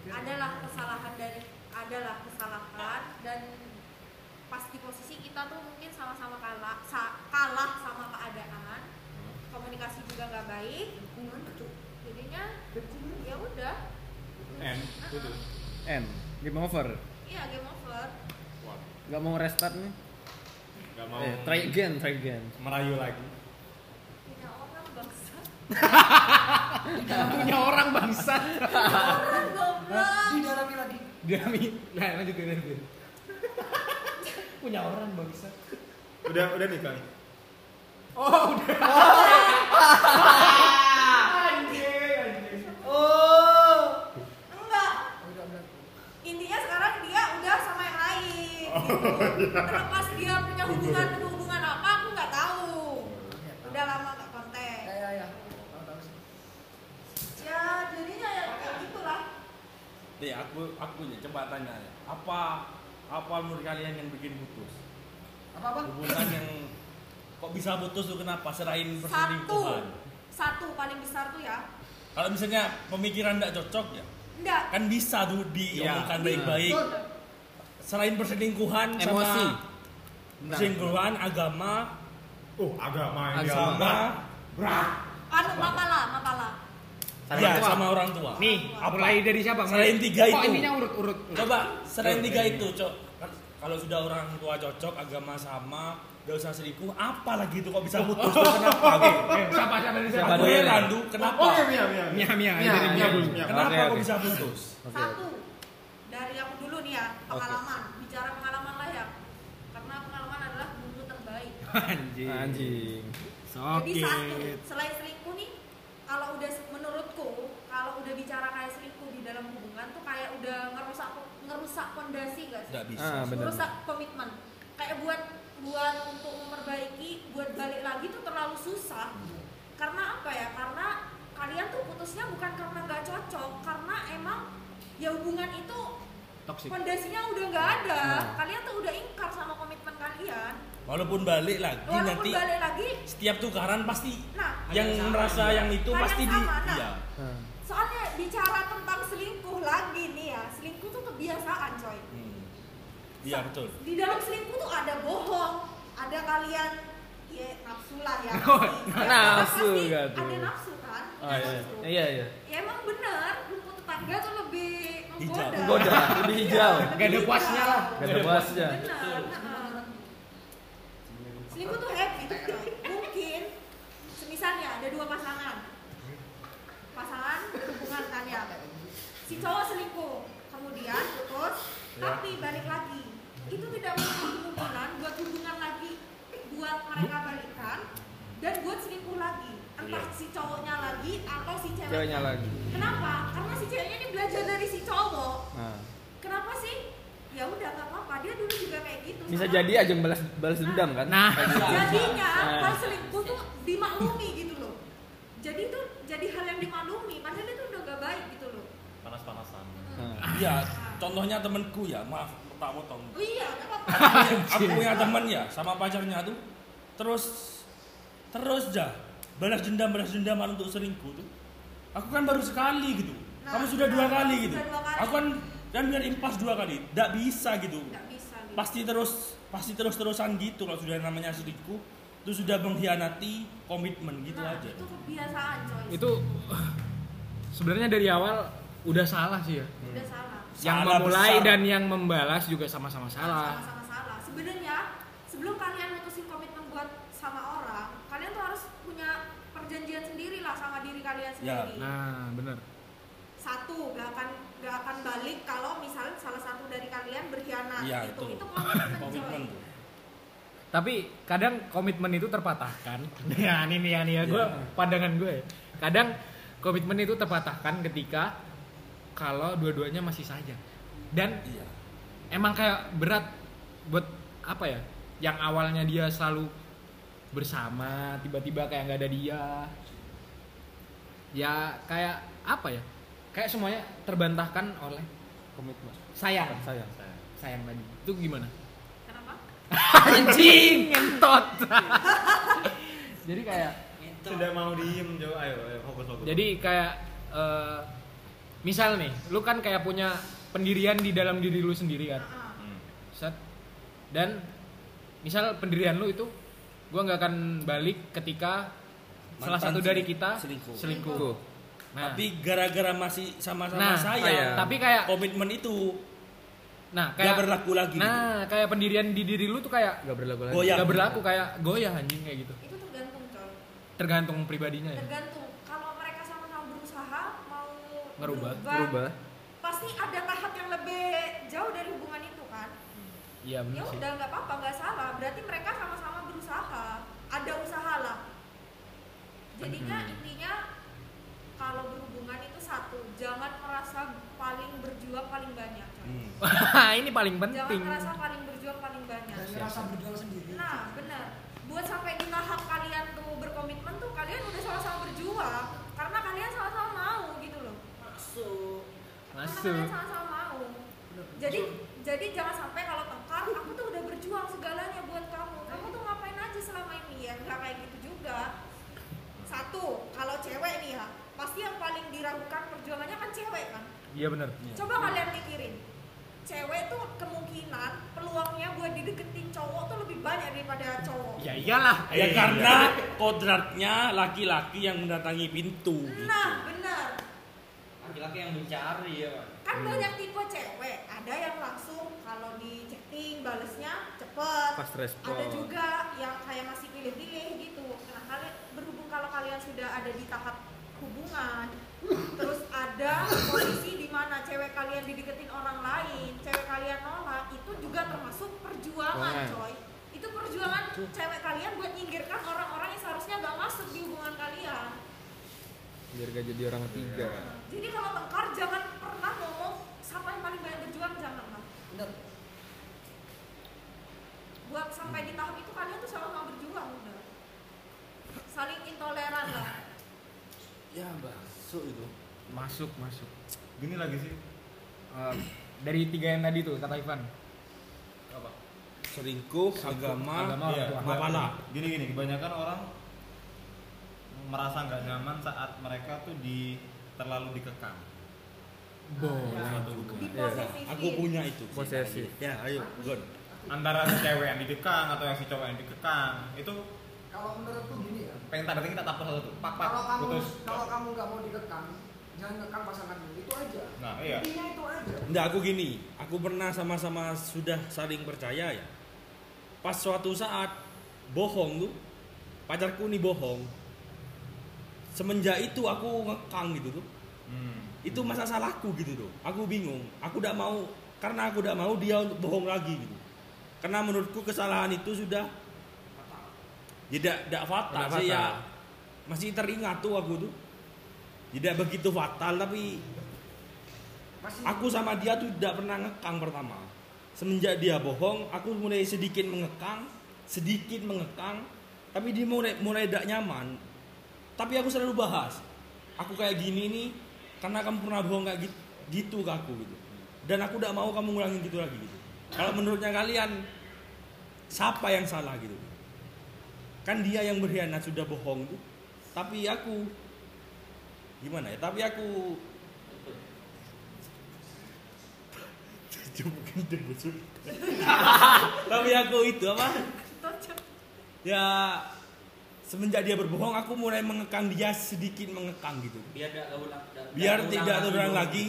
adalah kesalahan dari adalah kesalahan dan pas di posisi kita tuh mungkin sama-sama kalah sa- kalah sama keadaan komunikasi juga nggak baik jadinya ya udah
N, itu.
end game over
iya game over
Wah,
nggak mau restart nih
nggak mau
eh, try again try again
merayu lagi.
punya orang bangsa
punya orang bangsa.
orang goblok
Didalami lagi.
Dia nah lanjutin lanjutin. punya orang bangsa.
Udah, udah nih kan.
Oh.
enggak intinya sekarang dia udah sama yang lain gitu. terlepas dia punya hubungan hubungan apa aku nggak tahu udah lama nggak kontak
Ya ya ya. Tahu, tahu sih.
ya jadinya ya kayak gitulah
Ya aku aku ya coba tanya ya. Apa apa menurut kalian yang bikin putus?
Apa apa?
Hubungan yang kok bisa putus tuh kenapa?
satu
Serahin perselingkuhan.
satu paling besar tuh ya
Kalau misalnya pemikiran nggak cocok ya,
enggak
kan bisa tuh diomongkan baik-baik. Selain perselingkuhan
Emosi.
sama perselingkuhan agama
Oh, agama yang
Agama.
diambang.
sama
anu makalah makalah
Sama
ya
orang tua.
sama orang tua.
Nih,
Apa?
mulai dari siapa?
Selain tiga
Kok
itu.
ininya urut-urut?
Coba selain tiga itu, cok. Kan- Kalau sudah orang tua cocok, agama sama, gak usah selingkuh, apa lagi itu kok bisa putus? tuh kenapa? gitu?
Eh, siapa siapa dari siapa?
Aku
Boleh.
heran tuh, kenapa?
Oh, iya, iya, iya.
Mia Mia
Iya,
dari
iya,
Mia dulu.
iya.
Kenapa
Oke,
kok
oke.
bisa putus?
Oke.
satu dari aku dulu nih ya pengalaman bicara pengalaman lah ya karena pengalaman adalah guru terbaik
Anjing.
anjing
Oke.
Jadi satu, selain selingkuh nih, kalau udah se- menurutku, kalau udah bicara kayak selingkuh di dalam hubungan tuh kayak udah ngerusak ngerusak pondasi gak sih?
Gak bisa.
ah benar
Ngerusak komitmen. Kayak buat buat untuk memperbaiki, buat balik lagi tuh terlalu susah. Karena apa ya? Karena kalian tuh putusnya bukan karena gak cocok, karena emang ya hubungan itu
toxic Nah.
fondasinya udah nggak ada kalian tuh udah ingkar sama komitmen kalian
Walaupun balik
Nah,
lagi
walaupun
nanti
balik lagi
setiap tukaran pasti
nah
yang
yang sama.
merasa yang itu
Ada yang
pasti di
sama, nah.
iya.
Hah.
soalnya bicara tentang selingkuh lagi nih ya selingkuh tuh kebiasaan coy
Hmm. Iya betul.
di dalam selingkuh tuh ada bohong ada kalian ya nafsu lah ya pasti. Ya,
Oh, Nafsu
pasti
gak tuh.
ada nafsu kan
Oh, iya.
Nafsu.
Iya, iya.
ya emang bener rumput tetangga tuh lebih menggoda
Hijau.
Menggoda, lebih hijau.
Iya,
Gak ada
lebih
puasnya
hijau.
lah.
Gak ada puasnya.
bener nah. selingkuh tuh happy tuh coy. mungkin semisalnya ada dua pasangan pasangan berhubungan kan ya si cowok selingkuh kemudian putus
Ya.
tapi balik lagi itu tidak menutup kemungkinan buat hubungan lagi buat mereka balikan dan buat selingkuh lagi entah si cowoknya lagi atau si ceweknya,
Iya. Ceweknya lagi.
kenapa karena si ceweknya ini belajar dari si cowok
Nah,
kenapa sih ya udah nggak apa-apa dia dulu juga kayak gitu
bisa
Sama-
jadi ajang balas balas dendam kan?
Nah.
Kayak gitu.
jadinya
Nah.
hal selingkuh tuh dimaklumi gitu loh jadi itu jadi hal yang dimaklumi padahal itu udah gak baik gitu loh
Panas-panasan.
Hmm.
Nah.
Iya, contohnya temenku ya, maaf tak potong.
oh iya gak apa-apa
aku punya temen ya sama pacarnya tuh terus terus dah balas dendam balas dendaman untuk selingkuh tuh aku kan baru sekali gitu
Nah,
kamu sudah dua
nah,
kali
sudah
gitu
dua kali.
aku kan dan biar impas dua kali tidak bisa gitu
gak bisa gitu.
pasti terus pasti terus terusan gitu kalau sudah namanya selingkuh itu sudah mengkhianati komitmen gitu
nah,
aja
itu kebiasaan coy
itu sebenarnya dari awal udah salah sih ya
udah salah
yang
Salah
memulai
besar.
dan yang membalas juga sama-sama salah
sama-sama salah sebenarnya sebelum kalian mutusin komitmen buat sama orang kalian tuh harus punya perjanjian sendiri lah sama diri kalian
Ya,
sendiri
nah bener
satu gak akan gak akan balik kalau misalnya salah satu dari kalian berkhianat
Iya,
gitu
itu.
itu komitmen
komitmen
coy
tuh
tapi kadang komitmen itu terpatahkan ya ini nih ya nih ya gue pandangan gue kadang komitmen itu terpatahkan ketika kalau dua-duanya masih saja dan
iya
emang kayak berat buat apa ya yang awalnya dia selalu bersama tiba-tiba kayak nggak ada dia ya kayak apa ya kayak semuanya terbantahkan oleh
komitmen.
sayang
Sayang.
sayang tadi itu gimana
kenapa
anjing ngentot jadi kayak
Tidak mau diem jauh, ayo, ayo fokus fokus.
jadi kayak eh, misal nih lu kan kayak punya pendirian di dalam diri lu sendiri kan
Ah,
Hmm.
Set. Dan misal pendirian lu itu gua nggak akan balik ketika salah
Mantan
satu
sel-
dari kita
selingkuh.
selingkuh. Nah,
tapi gara-gara masih
nah,
sama-sama saya Iya.
tapi kayak
komitmen itu
nah
nggak
kayak
berlaku lagi gitu?
Nah, kayak pendirian di diri lu tuh kayak
Gak berlaku lagi.
Goyang.
nggak berlaku kayak goyah anjing kayak gitu.
itu tergantung coy
Tergantung
Eh.
pribadinya ya.
tergantung kalau mereka sama-sama berusaha mau
Ngerubah,
Berubah.
pasti ada tahap yang lebih jauh dari hubungan itu kan
Iya
ya
benar sih.
udah nggak apa-apa nggak salah berarti mereka sama-sama berusaha ada usaha lah jadinya
Hmm.
intinya kalau berhubungan itu satu jangan merasa paling berjuang paling banyak coy.
Hmm.
Nah, Ini paling
jangan
penting. Iya.
merasa paling berjuang paling banyak
Dan ngerasa berjuang sendiri.
Nah, benar. Buat sampai di tahap kalian tuh berkomitmen tuh kalian udah sama-sama berjuang karena kalian sama-sama mau gitu loh. Karena
Masuk.
kalian sama-sama mau. Jadi jadi jangan sampai kalau tengkar aku tuh udah berjuang segalanya buat kamu. Kamu tuh ngapain aja selama ini ya? Enggak kayak gitu juga. Satu, kalau cewek nih ya, pasti yang paling diragukan perjuangannya kan cewek kan.
Iya benar.
Coba kalian pikirin, cewek tuh kemungkinan peluangnya buat dideketin cowok tuh lebih banyak daripada cowok.
Ya iyalah.
Ya karena kodratnya laki-laki yang mendatangi pintu gitu.
Nah, benar.
laki-laki yang mencari ya Pak.
Kan banyak tipe cewek. Ada yang langsung kalau di chatting balesnya cepet.
Fast respon.
Ada juga yang kayak masih pilih-pilih gitu. Nah, kalian berhubung kalau kalian sudah ada di tahap hubungan, terus ada posisi di mana cewek kalian dideketin orang lain, cewek kalian nolak, itu juga termasuk perjuangan,
Perjuangan.
coy. Itu perjuangan cewek kalian buat nyingkirkan orang-orang yang seharusnya nggak masuk di hubungan kalian.
Biar gak jadi orang ketiga.
Jadi kalau tengkar jangan pernah ngomong siapa yang paling banyak berjuang jangan lah.
Bener.
Buat sampai di tahap itu kalian tuh sama-sama berjuang udah. Saling intoleran lah.
Ya bakso itu.
Masuk, masuk.
Gini lagi sih.
eh, dari tiga yang tadi tuh kata Ivan
Selingkuh,
agama,
agama,
orang tua.
kepala.
Iya, gini gini kebanyakan orang merasa nggak nyaman saat mereka tuh di terlalu dikekang
diposesifin
Aku punya itu.
Posesif.
Ya, ayo, gon.
antara si cewek yang dikekang atau yang si cowok yang dikekang itu
Kalau menurutku gini ya.
pengen tanda tangan kita tapar satu tuh pak pak
Kalau kamu
putus
kalau kamu nggak mau dikekang, jangan ngekang pasanganmu. Itu aja.
nah iya
Intinya itu aja.
Nggak, aku gini. Aku pernah sama-sama sudah saling percaya ya. Pas suatu saat bohong tuh, pacarku nih bohong. Semenjak itu aku ngekang gitu tuh.
hmm.
Itu masa salahku gitu tuh. Aku bingung. Aku tidak mau karena aku tidak mau dia untuk bohong lagi gitu. Karena menurutku kesalahan itu sudah ya tidak tidak fatal
Nggak
sih ya.
fatal.
Masih teringat tuh aku tuh. Tidak begitu fatal tapi
Masih
aku sama dia tuh tidak pernah ngekang pertama semenjak dia bohong aku mulai sedikit mengekang sedikit mengekang tapi dia mulai mulai tidak nyaman tapi aku selalu bahas aku kayak gini nih karena kamu pernah bohong kayak gitu, gitu ke aku gitu dan aku tidak mau kamu ngulangin gitu lagi gitu kalau menurutnya kalian siapa yang salah gitu kan dia yang berkhianat sudah bohong tuh tapi aku gimana ya tapi aku Mungkin debut sulit. Tapi aku itu apa? Ya semenjak dia berbohong aku mulai mengekang dia sedikit mengekang gitu.
biar tidak terulang nggak-
Biar
nggak
tidak terulang
dulu.
lagi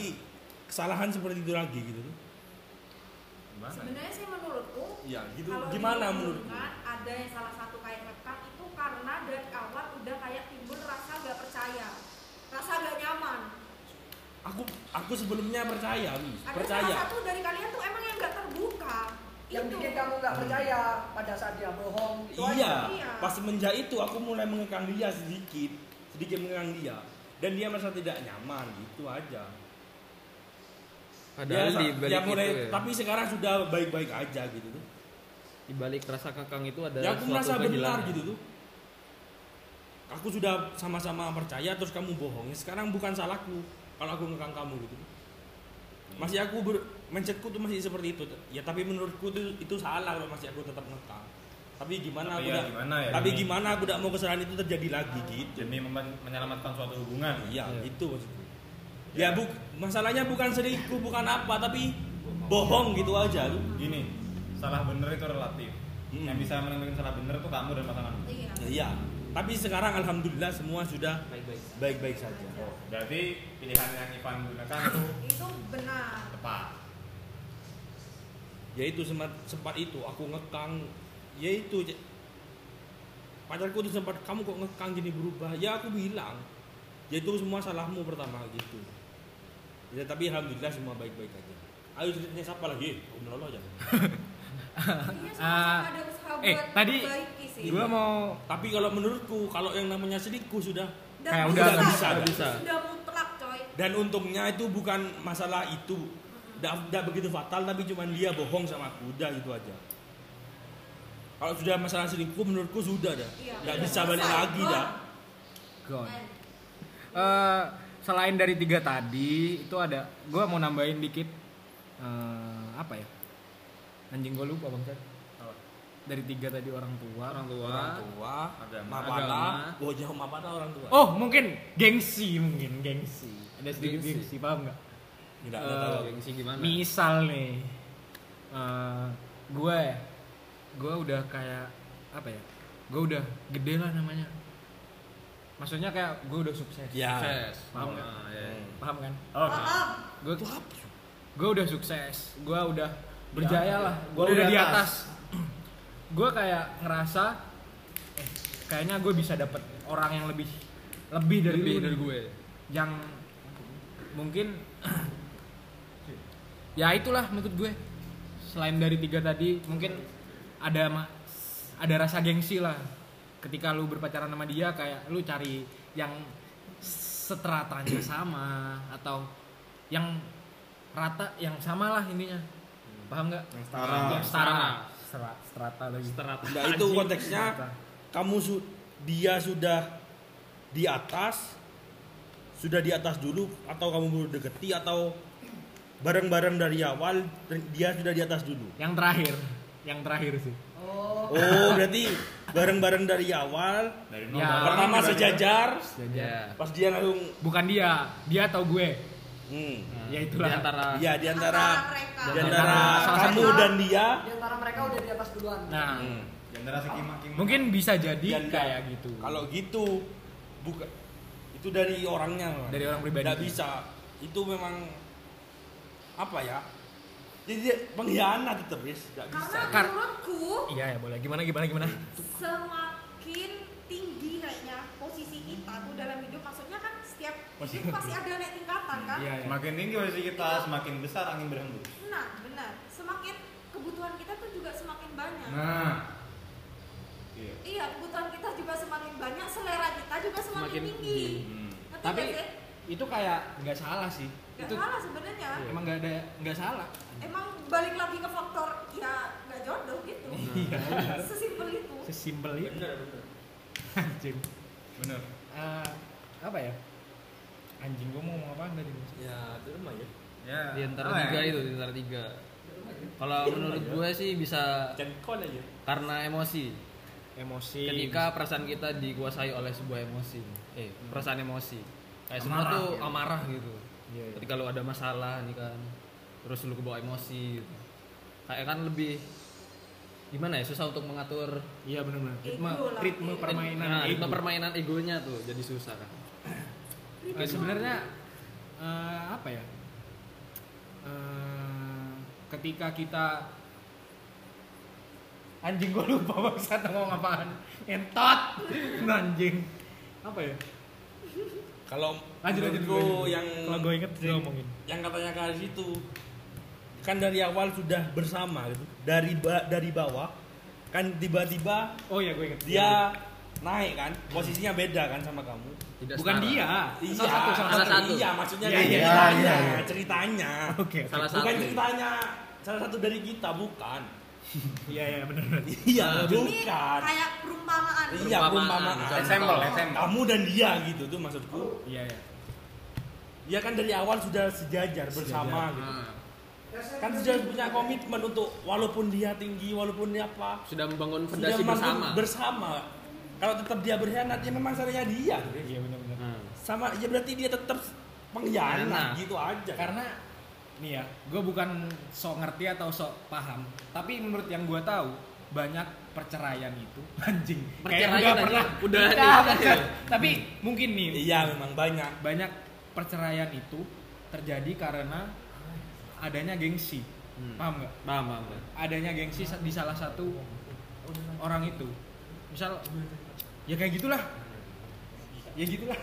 kesalahan seperti itu lagi gitu.
sebenarnya sih menurutku
Ya gitu.
Kalau
Gimana
dihubungkan,
menurutmu?
Ada yang salah satu kayak ngekat itu karena dari awal udah kayak timbul rasa gak percaya, rasa gak nyaman.
Aku aku sebelumnya percaya, Wi.
Ada
percaya.
salah satu dari kalian tuh emang yang gak terbuka.
yang
itu.
bikin kamu nggak percaya pada saat dia bohong. Itu aja.
Iya,
Iya.
pas semenjak itu aku mulai mengekang dia sedikit, sedikit mengekang dia dan dia merasa tidak nyaman gitu aja.
Padahal
Dia-
di balik
dia mulai,
itu ya,
tapi sekarang sudah baik-baik aja gitu tuh.
di balik rasa kekang itu ada
ya aku
suatu
merasa benar
kehilangan.
gitu tuh aku sudah sama-sama percaya terus kamu bohong sekarang bukan salahku kalau aku ngekang kamu gitu masih aku ber, mindsetku tuh masih seperti itu ya tapi menurutku tuh itu salah kalau masih aku tetap ngekang tapi
Tapi
gimana aku
ya
dak-
gimana ya,
tapi
demi-
gimana aku tidak mau kesalahan itu terjadi lagi gitu
demi memen- menyelamatkan suatu hubungan
iya itu maksudku ya bu masalahnya bukan selingkuh bukan apa tapi bohong gitu aja tuh
gini salah bener itu relatif
Hmm.
yang bisa menentukan salah bener itu kamu dan pasanganmu
Iya.
iya tapi sekarang alhamdulillah semua sudah
Baik-baik.
baik-baik saja
Oh.
berarti pilihan yang Ivan gunakan itu
Itu benar.
tepat
ya itu sempat sempat itu aku ngekang ya itu Je- pacarku tuh sempat kamu kok ngekang gini berubah ya aku bilang ya itu semua salahmu pertama gitu ya tapi alhamdulillah semua baik-baik aja ayo ceritanya siapa lagi aku melolo aja
Iya sama-sama ada sahabat
eh, tadi
memperbaiki sih.
gue mau
tapi kalau menurutku kalau yang namanya selingkuh sudah
Dan
kayak
udah nggak bisa,
sudah
nggak
bisa.
Sudah mutlak coy.
dan untungnya itu bukan masalah itu tidak begitu fatal tapi cuman dia bohong sama aku udah gitu aja kalau sudah masalah selingkuh menurutku sudah dah
Iya.
nggak bisa balik
Selesai.
lagi dah
gone
And
Eh, selain dari tiga tadi itu ada gue mau nambahin dikit eh, apa ya anjing gue lupa bang Chan. dari tiga tadi orang tua
Orang tua.
orang tua
Agama.
mapala
Agama.
oh jauh mapala orang tua
oh mungkin gengsi mungkin gengsi ada sedikit
Gengsi.
gengsi, paham nggak
tidak
Eh,
nggak tahu
Gengsi gimana?
misal nih eh, gue gue udah kayak apa ya gue udah gede lah namanya maksudnya kayak gue udah sukses
ya
Sukses. Nah,
Paham nggak?
iya.
paham kan
paham.
gue tuh gue udah sukses gue udah berjaya lah gue
Gua
udah,
udah
di
di
atas gue kayak ngerasa eh, kayaknya gue bisa dapet orang yang lebih lebih dari
Lebih
lu
dari
nih.
gue.
yang mungkin ya itulah menurut gue selain dari tiga tadi mungkin ada ma- ada rasa gengsi lah ketika lu berpacaran sama dia kayak lu cari yang seteratanya sama atau yang rata yang samalah ininya paham nggak yang
setara.
yang setara Sera- strata lagi
nah itu konteksnya
Strata.
kamu su- dia sudah di atas sudah di atas dulu atau kamu baru deketi atau bareng-bareng dari awal dan dia sudah di atas dulu.
Yang terakhir, yang terakhir sih.
Oh,
Oh, berarti bareng-bareng dari awal.
Dari
Ya.
nol.
Pertama
Dari-
sejajar,
Ya.
pas dia langsung
Bukan dia, dia atau gue.
hmm.
Ya, itulah.
Di antara
Ya di antara
mereka
di
antara
antara
salah
kamu
satu.
dan dia.
di antara mereka udah di atas duluan.
Nah,
Hmm.
Di antara si Kima Kima.
mungkin bisa jadi
Dan-
kayak gitu.
Kalau gitu buka itu dari orangnya. Mas.
Dari orang pribadi. ya?
Nggak bisa. Itu memang apa ya? Jadi dia pengkhianat tetap ya, nggak bisa.
karena
Kar-
menurutku
Iya ya boleh. Gimana gimana gimana?
semakin tinggi naiknya posisi kita tuh dalam hidup maksudnya kan setiap hidup pasti ada naik tingkatan kan
Iya ya.
Semakin tinggi posisi kita, semakin besar angin berhembus.
nah benar semakin kebutuhan kita tuh juga semakin banyak
Nah, iya.
iya kebutuhan kita juga semakin banyak selera kita juga semakin,
Semakin
tinggi
Hmm.
Ngerti
Tapi
nggak sih?
itu kayak nggak salah sih.
Gak
itu
salah sebenarnya
emang nggak ada nggak salah.
emang balik lagi ke faktor ya nggak jodoh gitu
Iya.
sesimpel itu
Sesimpel itu.
Bener, bener.
Anjing.
Bener.
Eh, apa ya? Anjing gua mau ngomong apa tadi?
Ya, itu lumayan.
Ya.
di antara
apa ya?
tiga itu, di antara tiga. Kalau menurut gue sih bisa
Dan call aja.
karena emosi.
Emosi.
Ketika perasaan kita dikuasai oleh sebuah emosi. Eh, perasaan emosi. Kayak semua
Amarah,
tuh
ya.
amarah gitu.
Iya, iya.
Ketika lu ada masalah nih kan, terus lu kebawa emosi gitu. Kayak kan lebih gimana ya susah untuk mengatur
Iya benar-benar. Ritme,
Ego lah.
ritme permainan.
nah,
ego.
ritme permainan egonya tuh jadi susah kan.
Eh,
Gitu.
sebenarnya eh, apa ya? Eh, ketika kita anjing gue lupa bangsa mau ngapain entot anjing apa ya
Kalau
lanjut lanjut
menurutku
lanjut.
yang
kalau gue inget gue ngomongin
yang katanya kali itu kan dari awal sudah bersama gitu. Dari ba- dari bawah kan tiba-tiba
oh ya gue inget
dia naik kan posisinya beda kan sama kamu
Tidak
bukan
setara.
dia
iya
salah satu salah
salah
satu
satu.
iya maksudnya
Iya,
kan
iya,
ceritanya ceritanya
oke oke.
Salah satu.
bukan ceritanya salah satu dari kita bukan
iya iya benar
iya
ini
bukan
kayak perumpamaan
iya perumpamaan
Example,
Contoh.
example.
kamu dan dia gitu tuh maksudku
iya iya
dia kan dari awal sudah sejajar bersama gitu
Nah,
kan sudah punya komitmen untuk walaupun dia tinggi walaupun dia apa
sudah membangun
sudah
fondasi
membangun
bersama.
bersama kalau tetap dia berkhianat ya memang salahnya dia gitu.
iya benar-benar
Nah,
sama ya berarti dia tetap pengkhianat
Pengkhianat.
gitu aja
karena nih ya gue bukan sok ngerti atau sok paham tapi menurut yang gue tahu banyak perceraian itu anjing
Perceraian
udah
aja,
pernah
udah
nikah,
nih. Iya.
pacar. tapi mungkin nih
iya memang banyak
banyak perceraian itu terjadi karena adanya gengsi
Hmm.
paham nggak
paham, paham, paham.
adanya gengsi sa- di salah satu orang itu misal ya kayak gitulah ya gitulah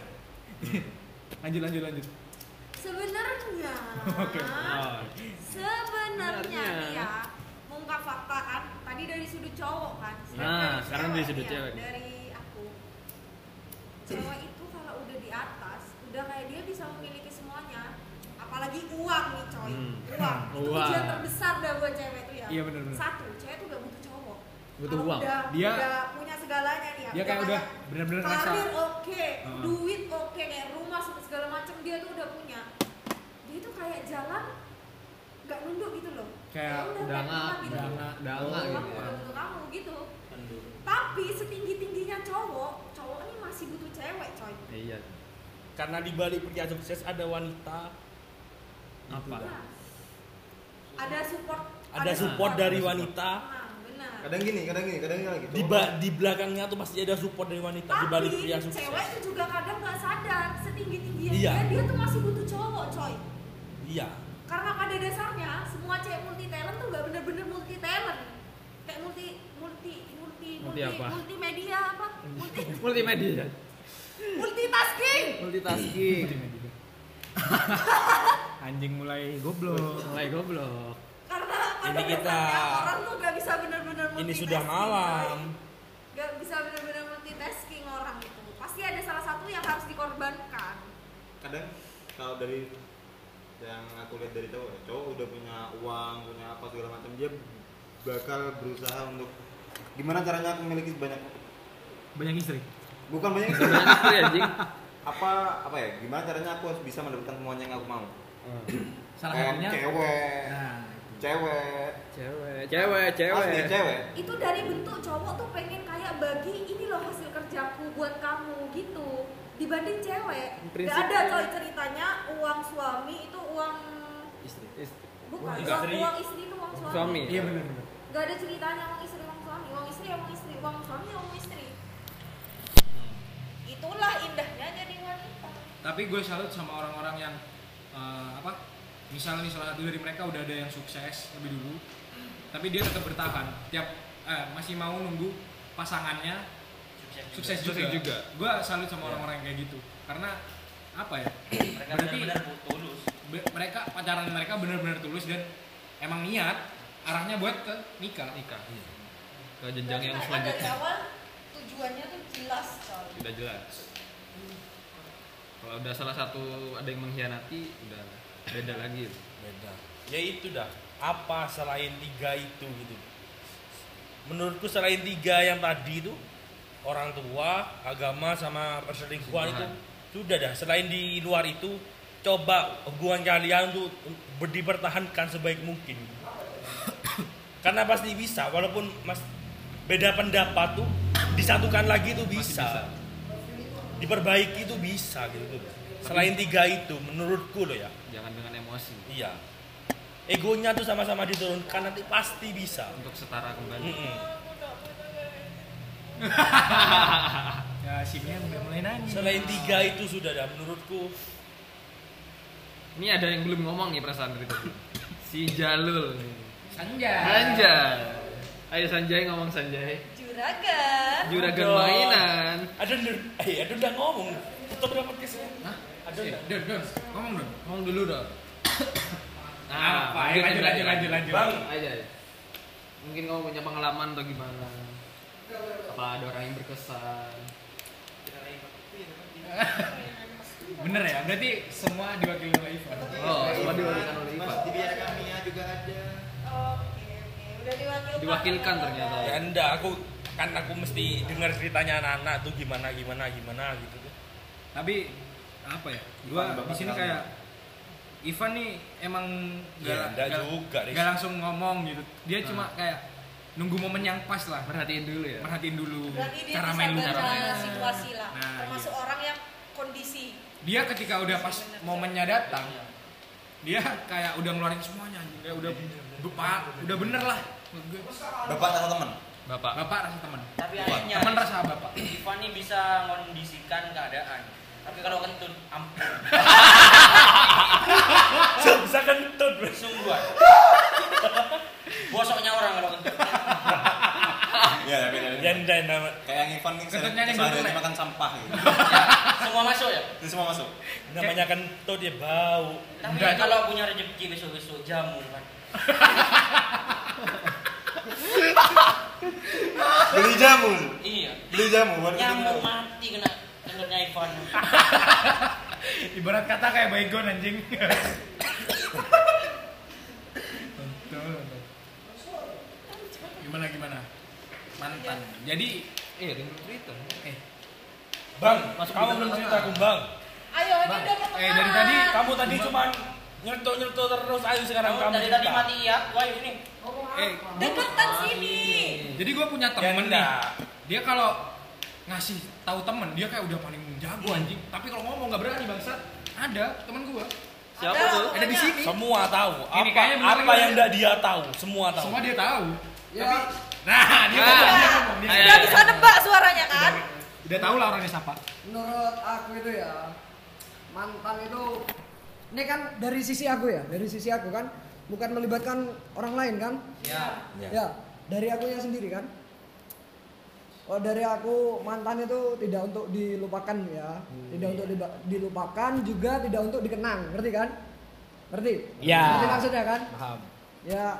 lanjut lanjut lanjut
sebenarnya
Oke.
Oh,
sebenarnya
Sebenarnya.
ya mengungkap fakta kan tadi dari sudut cowok kan
Nah, sekarang dari sudut
ya,
cewek.
dari aku cewek itu kalau udah di atas udah kayak dia bisa memiliki semuanya apalagi uang nih coy
Hmm.
uang itu
Uang.
ujian terbesar dah buat cewek tuh ya
Iya, bener-bener.
satu cewek tuh gak butuh cowok
Butuh
Kalau
uang.
udah,
Dia-
udah punya segalanya nih ya.
dia kayak udah bener-bener ngerasa
karir oke,
Heeh.
duit oke, kayak rumah segala macam dia tuh udah punya. Dia tuh kayak jalan nggak nunduk gitu loh.
Kayak
Ya
udah
udah, kayak
nggak,
rumah gitu.
udah nggak, udah nggak
Kamu
gitu ya.
udah butuh kamu gitu. Tapi setinggi tingginya cowok, cowok ini masih butuh cewek coy.
Iya.
karena di balik pria sukses ada wanita
Apa?
Nah, ada support.
ada support
Ah,
dari wanita
Nah, benar.
Kadang gini, kadang gini, kadang gini lagi.
di ba- di belakangnya tuh pasti ada support dari wanita di
Tapi
balik pria
cewek
sukses
itu juga kadang nggak sadar setinggi tingginya
Iya.
dia, dia tuh masih butuh cowok coy.
iya
karena pada dasarnya semua cewek multi talent tuh nggak bener-bener multi talent kayak multi multi multi multi
Multi apa?
multimedia apa multi
Multimedia.
multitasking
Multitasking.
anjing mulai goblok
Mulai goblok.
karena pada
Ini kita-
dasarnya kan orang tuh nggak bisa bener-bener
ini
multitasking,
sudah malam
coy. nggak bisa bener-bener multitasking orang itu pasti ada salah satu yang harus dikorbankan
kadang kalau dari yang aku lihat dari cowok ya, cowok udah punya uang punya apa segala macam dia bakal berusaha untuk gimana caranya aku memiliki banyak
banyak istri
bukan banyak
Banyak istri anjing.
apa apa ya gimana caranya aku harus bisa mendapatkan semuanya yang aku mau
Salah
Kayak
satunya
cewek
Nah,
cewek
cewek, cewek, cewek.
asli cewek
itu dari bentuk cowok tuh pengen kayak bagi ini loh hasil kerjaku buat kamu gitu dibanding cewek
Prinsip-
nggak ada coy ceritanya uang suami itu uang bukan
Uang
uang,
istri.
uang istri itu uang suami,
Suami. ya?
iya benar benar
nggak ada ceritanya uang istri uang suami uang istri uang istri uang suami uang istri Hmm. itulah indahnya jadi wanita
tapi gue salut sama orang-orang yang eh, apa misalnya nih salah satu dari mereka udah ada yang sukses lebih dulu tapi dia tetap bertahan tiap eh, masih mau nunggu pasangannya
sukses juga.
sukses juga,
Sukses juga.
gue salut sama orang-orang yang kayak gitu karena apa ya
mereka
Berarti-
benar-benar tulus
be- mereka pacaran mereka benar-benar tulus dan emang niat arahnya buat ke nikah nikah iya.
Ke jenjang yang
Karena Nah, dari
selanjutnya.
awal tujuannya tuh jelas coy
Tidak jelas. Kalau udah salah satu ada yang mengkhianati, udah beda lagi.
beda ya itu dah apa selain tiga itu gitu menurutku selain tiga yang tadi itu orang tua agama sama perselingkuhan itu sudah dah selain di luar itu coba hubungan kalian tuh ber- dipertahankan sebaik mungkin karena pasti bisa walaupun mas beda pendapat tuh disatukan lagi tuh bisa, diperbaiki tuh bisa gitu tuh selain tiga itu menurutku loh ya
Jangan dengan emosi
Iya. Egonya tuh sama-sama diturunkan nanti pasti bisa.
untuk setara kembali.
Mm-mm.
ya simnya udah mulai nangis
Selain tiga itu sudah dah menurutku.
Ini ada yang belum ngomong nih perasaan dari tadi. Si Jalul nih.
sanjay
Sanjay. Ayo Sanjay ngomong Sanjay.
juragan
Juragan
Aduh.
mainan.
Ada ner- eh ada udah ngomong. Kita berapa ya? kesini?
Hah?
Ada udah.
don don ngomong don
Ngomong dulu dong. Nah,
apa ayo Ah, lanjut lanjut lanjut lanjut
Bang,
Aja. Mungkin kamu punya pengalaman atau gimana? Apa ada orang yang berkesan?
bener ya berarti semua diwakili oleh Ivan
Oh, semua diwakilkan oleh Iva.
ya
Oke, oke. Udah diwakilkan.
Diwakilkan ternyata.
ya enggak aku kan aku mesti dengar ceritanya anak-anak tuh gimana gimana gimana gitu tuh.
tapi apa ya gua di sini kayak Ivan nih emang
Ya enggak juga deh. Nah.
nggak langsung ngomong gitu dia cuma kayak nunggu momen yang pas lah
Perhatiin dulu ya.
perhatiin dulu
Berarti dia
cara
bisa
main lu
baca
cara main.
situasi lah.
Nah,
termasuk orang yang kondisi.
dia ketika udah pas momennya datang dia kayak udah ngeluarin semuanya anjing. kayak
Iya,
udah bapak udah bener lah
bapak sama temen
Bapak.
bapak rasa teman
tapi anehnya
teman rasa bapak
Ivan ini bisa mengondisikan keadaan tapi kalau kentut ampun
bisa kentut. bro.
sungguhan bosoknya orang kalau kentut
ya tapi
Ya enggak enggak.
kayak yang Ivan nih
Kentutnya yang
sehari
bener.
makan sampah gitu
semua masuk ya
itu semua masuk
namanya kentut ya bau.
tapi
Enggak,
kalau punya rezeki besok besok jamu kan
beli jamu
iya
beli jamu buat
nyamuk mati kena kentutnya Ivan
Kan ibarat kata kayak baygon anjing Betul. gimana gimana mantan jadi
Eh, ada yang belum cerita.
eh
Bang,
Masuk
kamu
di
belum
dalam
cerita
tengah.
aku, Bang.
Ayo, ini
Bang,
udah
eh, dari tadi
Kamu tadi cuman nyertu-nyertu terus ayo sekarang
Kamu
kamu.
dari
cerita.
tadi mati ya wah ini
eh
deketan sini.
jadi gue punya temen
Ya,
nih
enggak.
dia kalau ngasih tahu temen dia kayak udah paling jago anjing tapi kalau ngomong nggak berani bangsat ada temen gue
Siapa
Ada
tuh?
lah
ada di
pokoknya.
sini
Semua tahu. Apa
Ini kayaknya bener
apa
nih.
yang enggak dia tahu, semua tahu.
semua dia tahu
Ya.
tapi nah dia
Nah.
ngomong, dia
Wah,
ngomong, dia
Ayo,
Udah
ayo,
bisa nebak suaranya kan?
udah tahu lah orangnya siapa
menurut aku itu ya mantan itu ini kan dari sisi aku ya dari sisi aku kan bukan melibatkan orang lain kan ya dari akunya sendiri kan oh dari aku mantan itu tidak untuk dilupakan ya tidak untuk diba- dilupakan juga tidak untuk dikenang ngerti kan ngerti
Ya.
ngerti maksudnya kan
Paham.
ya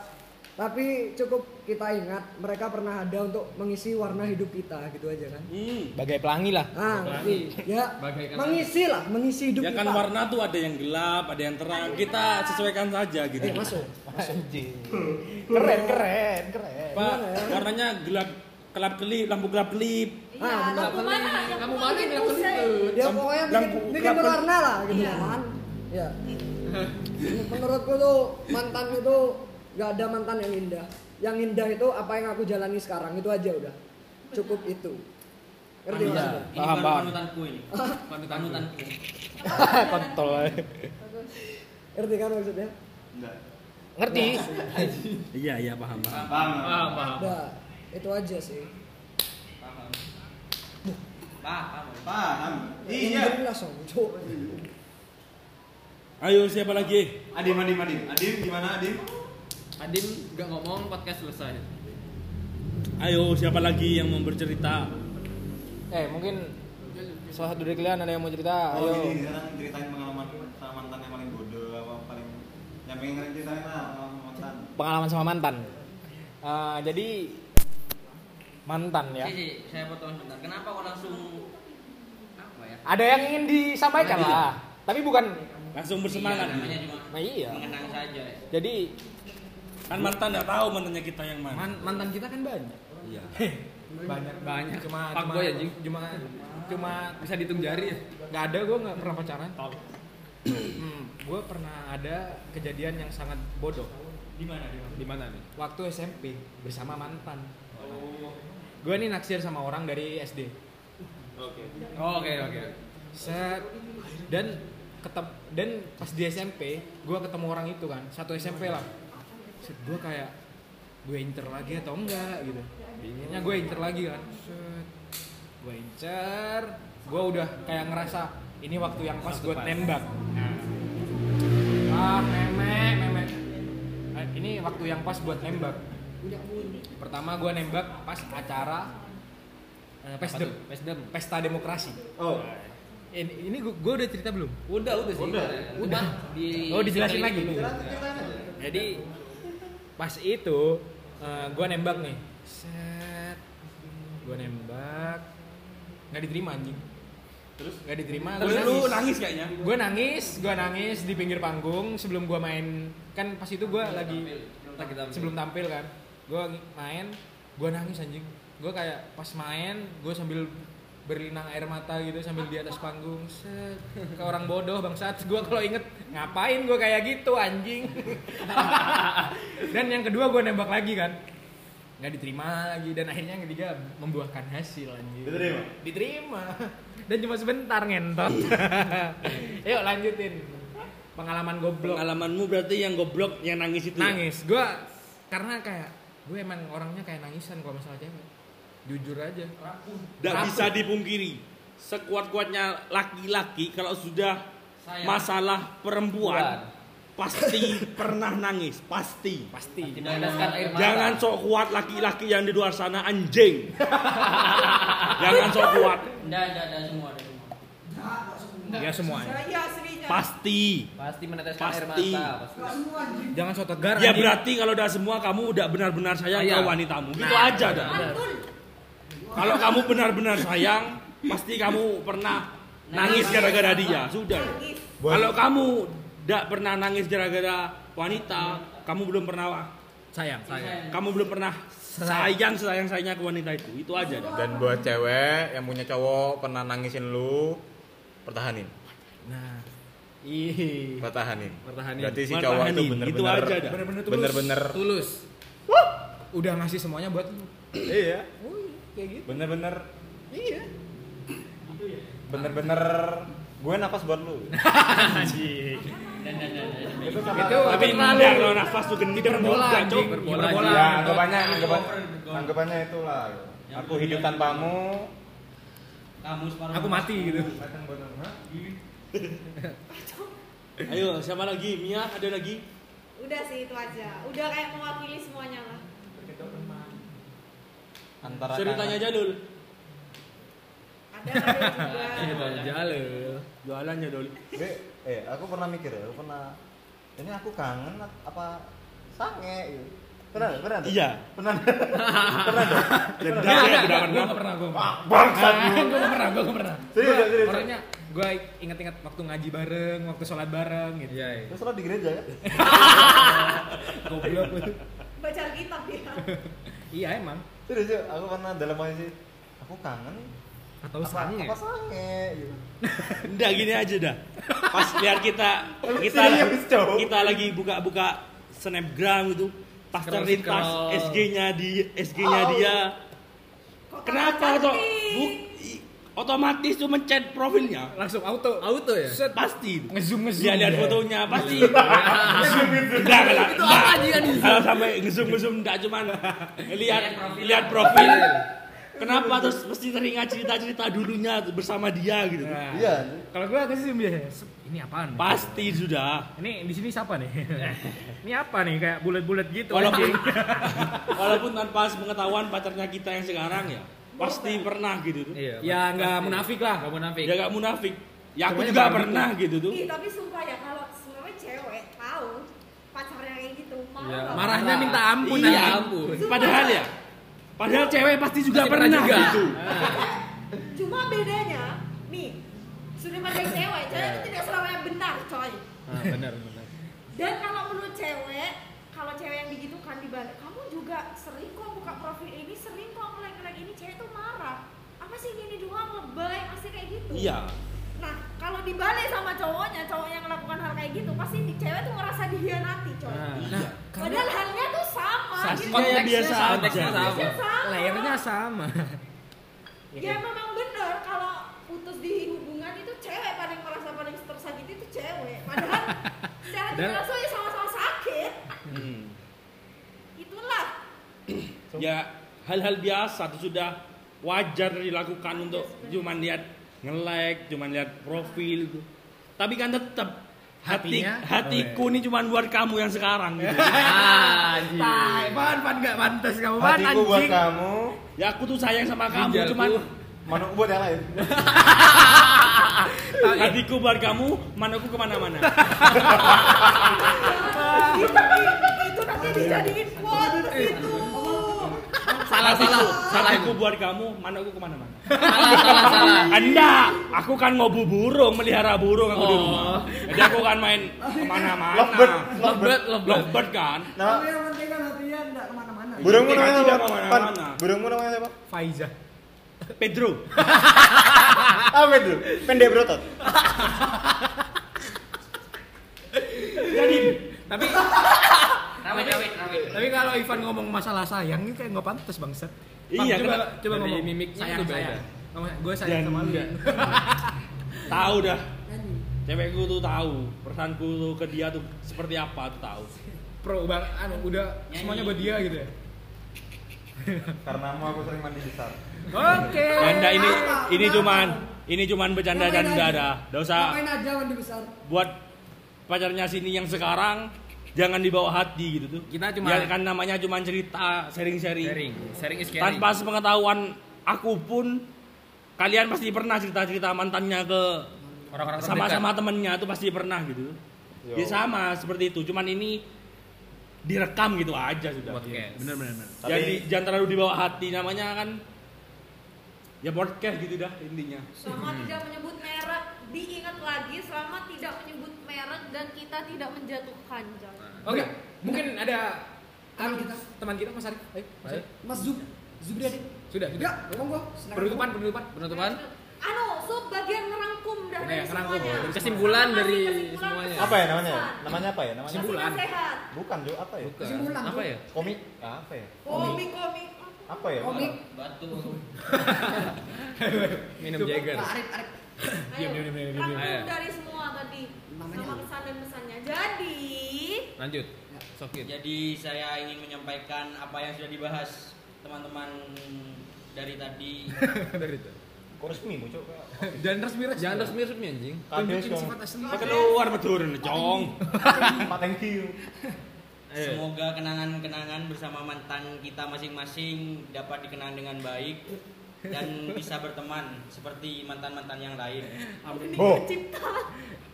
tapi cukup kita ingat mereka pernah ada untuk mengisi warna hidup kita gitu aja kan
Hmm,
bagai pelangi lah
Ah, ngerti. Ya,
Bagaikan
mengisi lah, mengisi hidup
Ya kan
kita.
warna tuh ada yang gelap, ada yang terang. Kita sesuaikan saja gitu.
Eh, masuk.
keren keren keren
Pak, warnanya gelap kelap kelip, lampu gelap kelip.
Ah, benar.
Kamu Iya, mana? Yang
Kamu
kamu
mana yang
bikin pusing.
Ya pokoknya bikin,
lampu-
bikin
lampu-
berwarna lah gitu
Iya.
kan. Ya. Menurutku tuh mantan itu nggak ada mantan yang indah. Yang indah itu apa yang aku jalani sekarang itu aja udah. Cukup itu. Ngerti
Iya.
maksudnya?
Ini
Paham,
baru
paham.
panutanku ini. Panutanku.
kontol aja.
Ngerti kan maksudnya?
Enggak.
Ngerti?
iya iya paham paham
Paham.
Paham, paham.
Nah, itu aja sih.
Paham. Paham.
Paham.
Minjem
Iya.
lah Song, Cuk.
ayo siapa lagi
Adim, Adim, Adim. Adim gimana Adim?
Adin nggak ngomong podcast selesai.
ayo siapa lagi yang mau bercerita
Eh mungkin salah satu dari kalian ada yang mau cerita.
Oh
Ayo.
ini sekarang ceritain pengalaman sama mantan yang paling bodoh apa paling yang pengen kalian ceritain lah pengalaman mantan.
Pengalaman sama mantan. Eh, jadi mantan ya.
Sih, sih, saya potong sebentar. Kenapa kok langsung apa ya?
Ada yang ingin disampaikan lah. Tapi bukan.
langsung
Iya,
bersemangat
namanya cuma
Nah iya.
mengenang saja. ya.
Jadi
kan mantan nggak tahu mantannya kita yang mana
man- mantan kita kan banyak.
iya
Banyak
Banyak.
Cuma cuma
Fuckboy, anjing.
cuma cuma
Bisa dihitung jari ya.
nggak ada gue nggak pernah pacaran. Hmm, gue pernah ada kejadian yang sangat bodoh.
di mana di mana
Di mana nih? Waktu SMP bersama mantan. Oh. Gue nih naksir sama orang dari SD.
Oh, Oke, oke.
Set dan ketep dan pas di SMP gua ketemu orang itu kan satu SMP lah set gua kayak gue incer lagi atau enggak gitu bingungnya gue incer lagi kan set gue incer gua udah kayak ngerasa ini waktu yang pas gue nembak ah memek memek Eh, ini waktu yang pas buat nembak pertama gua nembak pas acara eh, pesta pesta demokrasi
Oh,
ini, ini gue, udah cerita belum?
Udah, udah sih.
Udah.
Udah. Di
Oh dijelasin lagi.
ceritain aja.
Jadi pas itu eh, gue nembak nih. Set. Gue nembak. Nggak diterima anjing. Terus nggak diterima. Gue
terus lu nangis kayaknya
Gue nangis, gue nangis di pinggir panggung sebelum gue main. Kan pas itu gue lagi sebelum tampil kan. Gue main, gue nangis anjing. Gue kayak pas main, gue sambil berlinang air mata gitu sambil di atas panggung set ke orang bodoh bangsat gue kalau inget ngapain gue kayak gitu anjing dan yang kedua gue nembak lagi kan nggak diterima lagi dan akhirnya yang ketiga membuahkan hasil anjing
Diterima?
diterima dan cuma sebentar ngentot yuk lanjutin pengalaman goblok
pengalamanmu berarti yang goblok yang nangis itu ya?
nangis gue karena kayak gue emang orangnya kayak nangisan kalau masalah cewek jujur aja
Tidak
Rapuh.
bisa dipungkiri. Sekuat-kuatnya laki-laki kalau sudah
Sayang.
masalah perempuan
Buat.
pasti pernah nangis, pasti.
pasti
Meneteskan air mata.
Jangan sok kuat laki-laki yang di luar sana anjing. Jangan sok kuat,
Enggak, enggak, enggak semua, ada semua.
ya semuanya
Saya
Iya.
aslinya.
pasti.
Pasti meneteskan air
Pasti.
mata. Pasti.
jangan so tegar
Ya
anjing.
berarti kalau udah semua kamu udah benar-benar sayang
Sayang.
Iya.
ke wanitamu. Gitu
Nah,
aja dah. Kalau kamu benar-benar sayang, pasti kamu pernah nangis gara-gara dia. Sudah. Kalau kamu tidak pernah nangis gara-gara wanita, kamu belum pernah
sayang sayang
kamu belum pernah sayang sayang sayangnya ke wanita itu. Itu aja. dah.
Dan buat cewek yang punya cowok pernah nangisin lu, pertahanin,
nah
Iya.
ih
pertahanin.
Pertahanin.
Berarti si
Pertahanin,
cowok itu
itu
bener-bener
aja dah.
Bener-bener tulus.
bener-bener
tulus udah ngasih semuanya buat lu
iya,
Wih, kayak gitu
bener-bener
iya
bener-bener gue nafas buat lu. itu
itu
sama
Tapi
itu terlalu
enggak kalau nafas tuh geni
berbola
enggak, Cok.
anjing
Berbola,
Berbola,
ya,
anjing.
anggapannya anggapan- anggapannya itulah. Aku hidup tanpamu.
Kamus paruh-
aku mati gitu Iya.
Ayo, siapa lagi? Mia, ada lagi?
Udah sih itu aja. Udah kayak mewakili semuanya lah.
Antara
Ceritanya Jalul.
Ada ada
Iya,
juga.
Jalur.
Jualannya Jalul.
Be, eh aku pernah mikir ya, aku pernah ini aku kangen apa sange gitu. Pernah, nggak? pernah. nggak?
Iya.
Pernah. pernah. dong?
Dan
Nggak,
dia
nggak,
tidak
nggak, gua
pernah.
nggak pernah, gua nggak
Ah,
pernah.
Bangsat.
gue gak pernah, gue gak pernah.
Serius,
Gua
serius.
Orangnya gue inget-inget waktu ngaji bareng, waktu sholat bareng gitu.
Iya. iya.
Terus sholat di gereja ya?
Goblok lu.
Baca kitab ya.
Iya emang.
Serius, yuk. aku pernah dalam posisi aku kangen
Atau sange.
apa sange gitu.
Enggak gini aja dah. Pas lihat kita kita
Serius, cowok.
kita lagi buka-buka snapgram gitu, pas
Scroll,
terlintas
scroll.
SG-nya di SG-nya dia.
Oh. Kok
Kenapa
tambah
atau
cantik?
otomatis tuh mencet profilnya?
langsung auto
Auto ya?
set
Pasti.
ngezoom ngezoom
Dia lihat fotonya pasti. Enggak enggak.
Itu apa aja kan di-
Kalau sampai ngezoom-ngezoom enggak cuman lihat lihat profil. Kenapa terus mesti teringat cerita-cerita dulunya bersama dia gitu.
Nah.
Iya.
kalau gue agak sih biasanya "Sep, ini apaan nih?
Pasti sudah.
ini di sini siapa nih ini apa nih kayak bulat-bulat gitu
walaupun
anjing.
walaupun tanpa pengetahuan pacarnya kita yang sekarang ya pasti pernah gitu tuh
Iya.
ya nggak munafik lah
Gak munafik.
ya gak munafik ya aku
Semuanya
juga
pernah
pernah gitu tuh
Ih, tapi sumpah ya kalau sebenarnya cewek tahu pacarnya kayak gitu marah.
Iya.
nggak?
marahnya minta ampun
Iya.
aja.
ampun.
padahal ya padahal cewek pasti juga
Pasti
pernah
pernah juga.
gitu
Cuma bedanya nih sudah mandai cewek,
Iya.
cewek itu tidak selamanya benar, coy.
Ah, benar benar.
Dan kalau menurut cewek, kalau cewek yang digitukan dibalik, kamu juga sering kok buka profil ini, sering kok ngelag-ngelag ini, cewek tuh marah. Apa sih gini doang lebay, pasti kayak gitu.
iya
Nah, kalau dibalik sama cowoknya, cowoknya melakukan hal kayak gitu, pasti di cewek tuh ngerasa dihianati, coy. Iya.
nah,
Padahal halnya tuh sama. gitu.
Saskia ya biasa
sama,
aja
konteksnya sama.
Konteksnya sama.
layarnya sama
Ya
Iya.
memang bener kalau putus di hubungan itu cewek paling merasa paling tersakiti itu cewek. Padahal secara tidak
Dan-
langsung ya sama-sama sakit.
Hmm.
Itulah.
ya hal-hal biasa itu sudah wajar dilakukan untuk cuman lihat nge-like cuman lihat profil gitu. tapi kan tetap hati
Hatinya?
Oh,
hatiku
iya.
ini cuman buat kamu yang sekarang gitu.
Ah,
tai pan pan nggak pantas kamu pan
Hatiku buat
anjing
kamu,
Ya aku tuh sayang sama kamu,
Ginjalku.
cuman
manukku buat yang lain.
hatiku buat kamu, manaku kemana-mana.
itu, itu nanti dijadiin
Eh,
quotes
Hmm.
itu.
Salah salah salah
hatiku buat kamu, manaku kemana-mana.
salah salah salah.
Anda, aku kan ngobu burung, melihara burung aku di rumah. Jadi aku kan main kemana-mana.
Lovebird,
Oh. Lovebird lovebird.
Lovebird kan.
Nah,
Tapi yang penting kan hatinya enggak kemana-mana.
burungmu
Hati
namanya
tidak
apa? Pan,
kemana-mana.
burungmu namanya siapa?
Faiza
Pedro,
Apa itu? Pendek berotot.
tapi
Rawit, rawit, rawit.
tapi kalau Ivan ngomong masalah sayang itu kayak nggak pantas bangsat Pan,
Iya,
coba
kenapa?
coba
Dari
ngomong
mimiknya
sayang
itu beda.
sayang gue sayang
Dan-
sama lu ya
tahu dah. Cewekku tuh tahu, perasaanku tuh ke dia tuh seperti apa tuh tahu.
pro bang anu udah semuanya buat dia gitu ya
Karenamu aku sering mandi besar.
oke
Anda ini
Apa?
ini
Kenapa?
cuman ini cuman bercanda
Ngapain
dan udah
aja?
ada. Enggak usah
Ngapain aja mandi besar.
buat pacarnya sini yang sekarang jangan dibawa hati gitu tuh.
Kita cuma-
ya, kan namanya cuma cerita sharing-sharing.
Sharing, sharing is caring.
Tanpa sepengetahuan aku pun kalian pasti pernah cerita-cerita mantannya ke
orang-orang
sama-sama temennya tuh pasti pernah gitu. Ya sama seperti itu, cuman ini direkam gitu aja sudah.
podcast. Bener bener.
Jadi jangan terlalu dibawa hati namanya kan ya podcast gitu dah intinya.
Selama tidak menyebut merek, diingat lagi selama tidak menyebut merek dan kita tidak menjatuhkan, coy.
oke mungkin ada
Teman
anu,
Kan kita.
teman kita Mas Arif ayo Mas Arif.
Mas Zub, Zubri adik.
sudah sudah
Enggak, ngomong gua. Silakan.
penutupan penutupan
Penutupan.
Anu, sub bagian ngerangkum dah
Iya,
dari
ngerangkum.
semuanya.
Dari
kesimpulan dari semuanya.
Apa ya namanya? Namanya apa ya? Namanya
Kesimpulan. Sehat.
bukan Jo, apa ya?
Bukan.
Kesimpulan,
Apa
tuh.
ya?
Komik. Ah, apa ya?
Komik, komik.
Apa ya?
Komik.
Batu.
Minum
Iya,
Jagger.
Pak Arif, Arif.
Ayo,
diam, diam, diam, diam.
rangkum
Ayo.
dari semua tadi.
Namanya
Sama
apa?
kesan dan pesannya. Jadi,
Lanjut. Sokit.
Jadi saya ingin menyampaikan apa yang sudah dibahas teman-teman dari tadi.
dari itu
Kok resmi muncul?
dan resmi resmi
Jangan resmi resmi anjing.
Kades
tunjukin
dong.
sifat asli
Keluar betul, cong.
Pak thank you.
Eh.
Semoga kenangan-kenangan bersama mantan kita masing-masing dapat dikenang dengan baik dan bisa berteman seperti mantan-mantan yang lain.
Bo.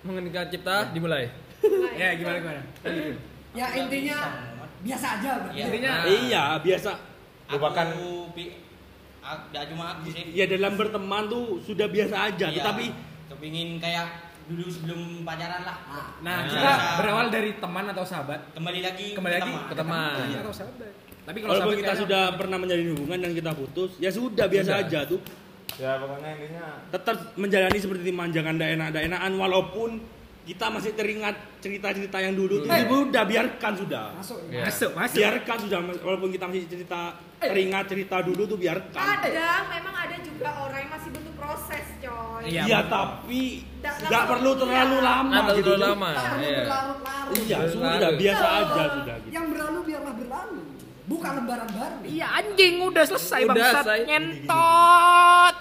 Mengenai cipta dimulai.
ya gimana gimana
Ya intinya biasa aja. Bro.
Ya.
Nah,
Iya, biasa
Lupakan.
Aku pi- ak- gak cuma aku sih.
ya dalam berteman tuh sudah biasa aja
Iya,
tetapi
kepingin kayak dulu sebelum pacaran lah.
nah
Nah.
kita berawal dari teman atau sahabat
Kembali lagi
kembali
ke
lagi
teman.
ke teman
Iya.
atau sahabat tapi kalau
walaupun
sahabat
kita
kayaknya-
sudah pernah menjalin hubungan dan kita putus ya sudah biasa
Sudah.
aja tuh
ya pokoknya intinya
tetap menjalani seperti manjangan tidak enak tidak enakan walaupun kita masih teringat cerita-cerita yang dulu itu udah biarkan sudah
Masuk. ya.
Masuk, masuk.
biarkan sudah Mas. walaupun kita masih cerita teringat cerita dulu tuh biarkan
ada memang ada juga orang yang masih butuh proses coy
Iya,
iya
betul.
tapi
Nggak
nggak perlu terlalu lama
Nggak
gitu
terlalu lama.
Tak perlu
Iya.
berlarut-larut.
iya
Terlalu.
sudah biasa
Betul.
aja sudah gitu
Yang berlalu biarlah berlalu. Bukan lebaran baru.
Iya anjing udah selesai
Udah
bangsat
selesai.
nyentot.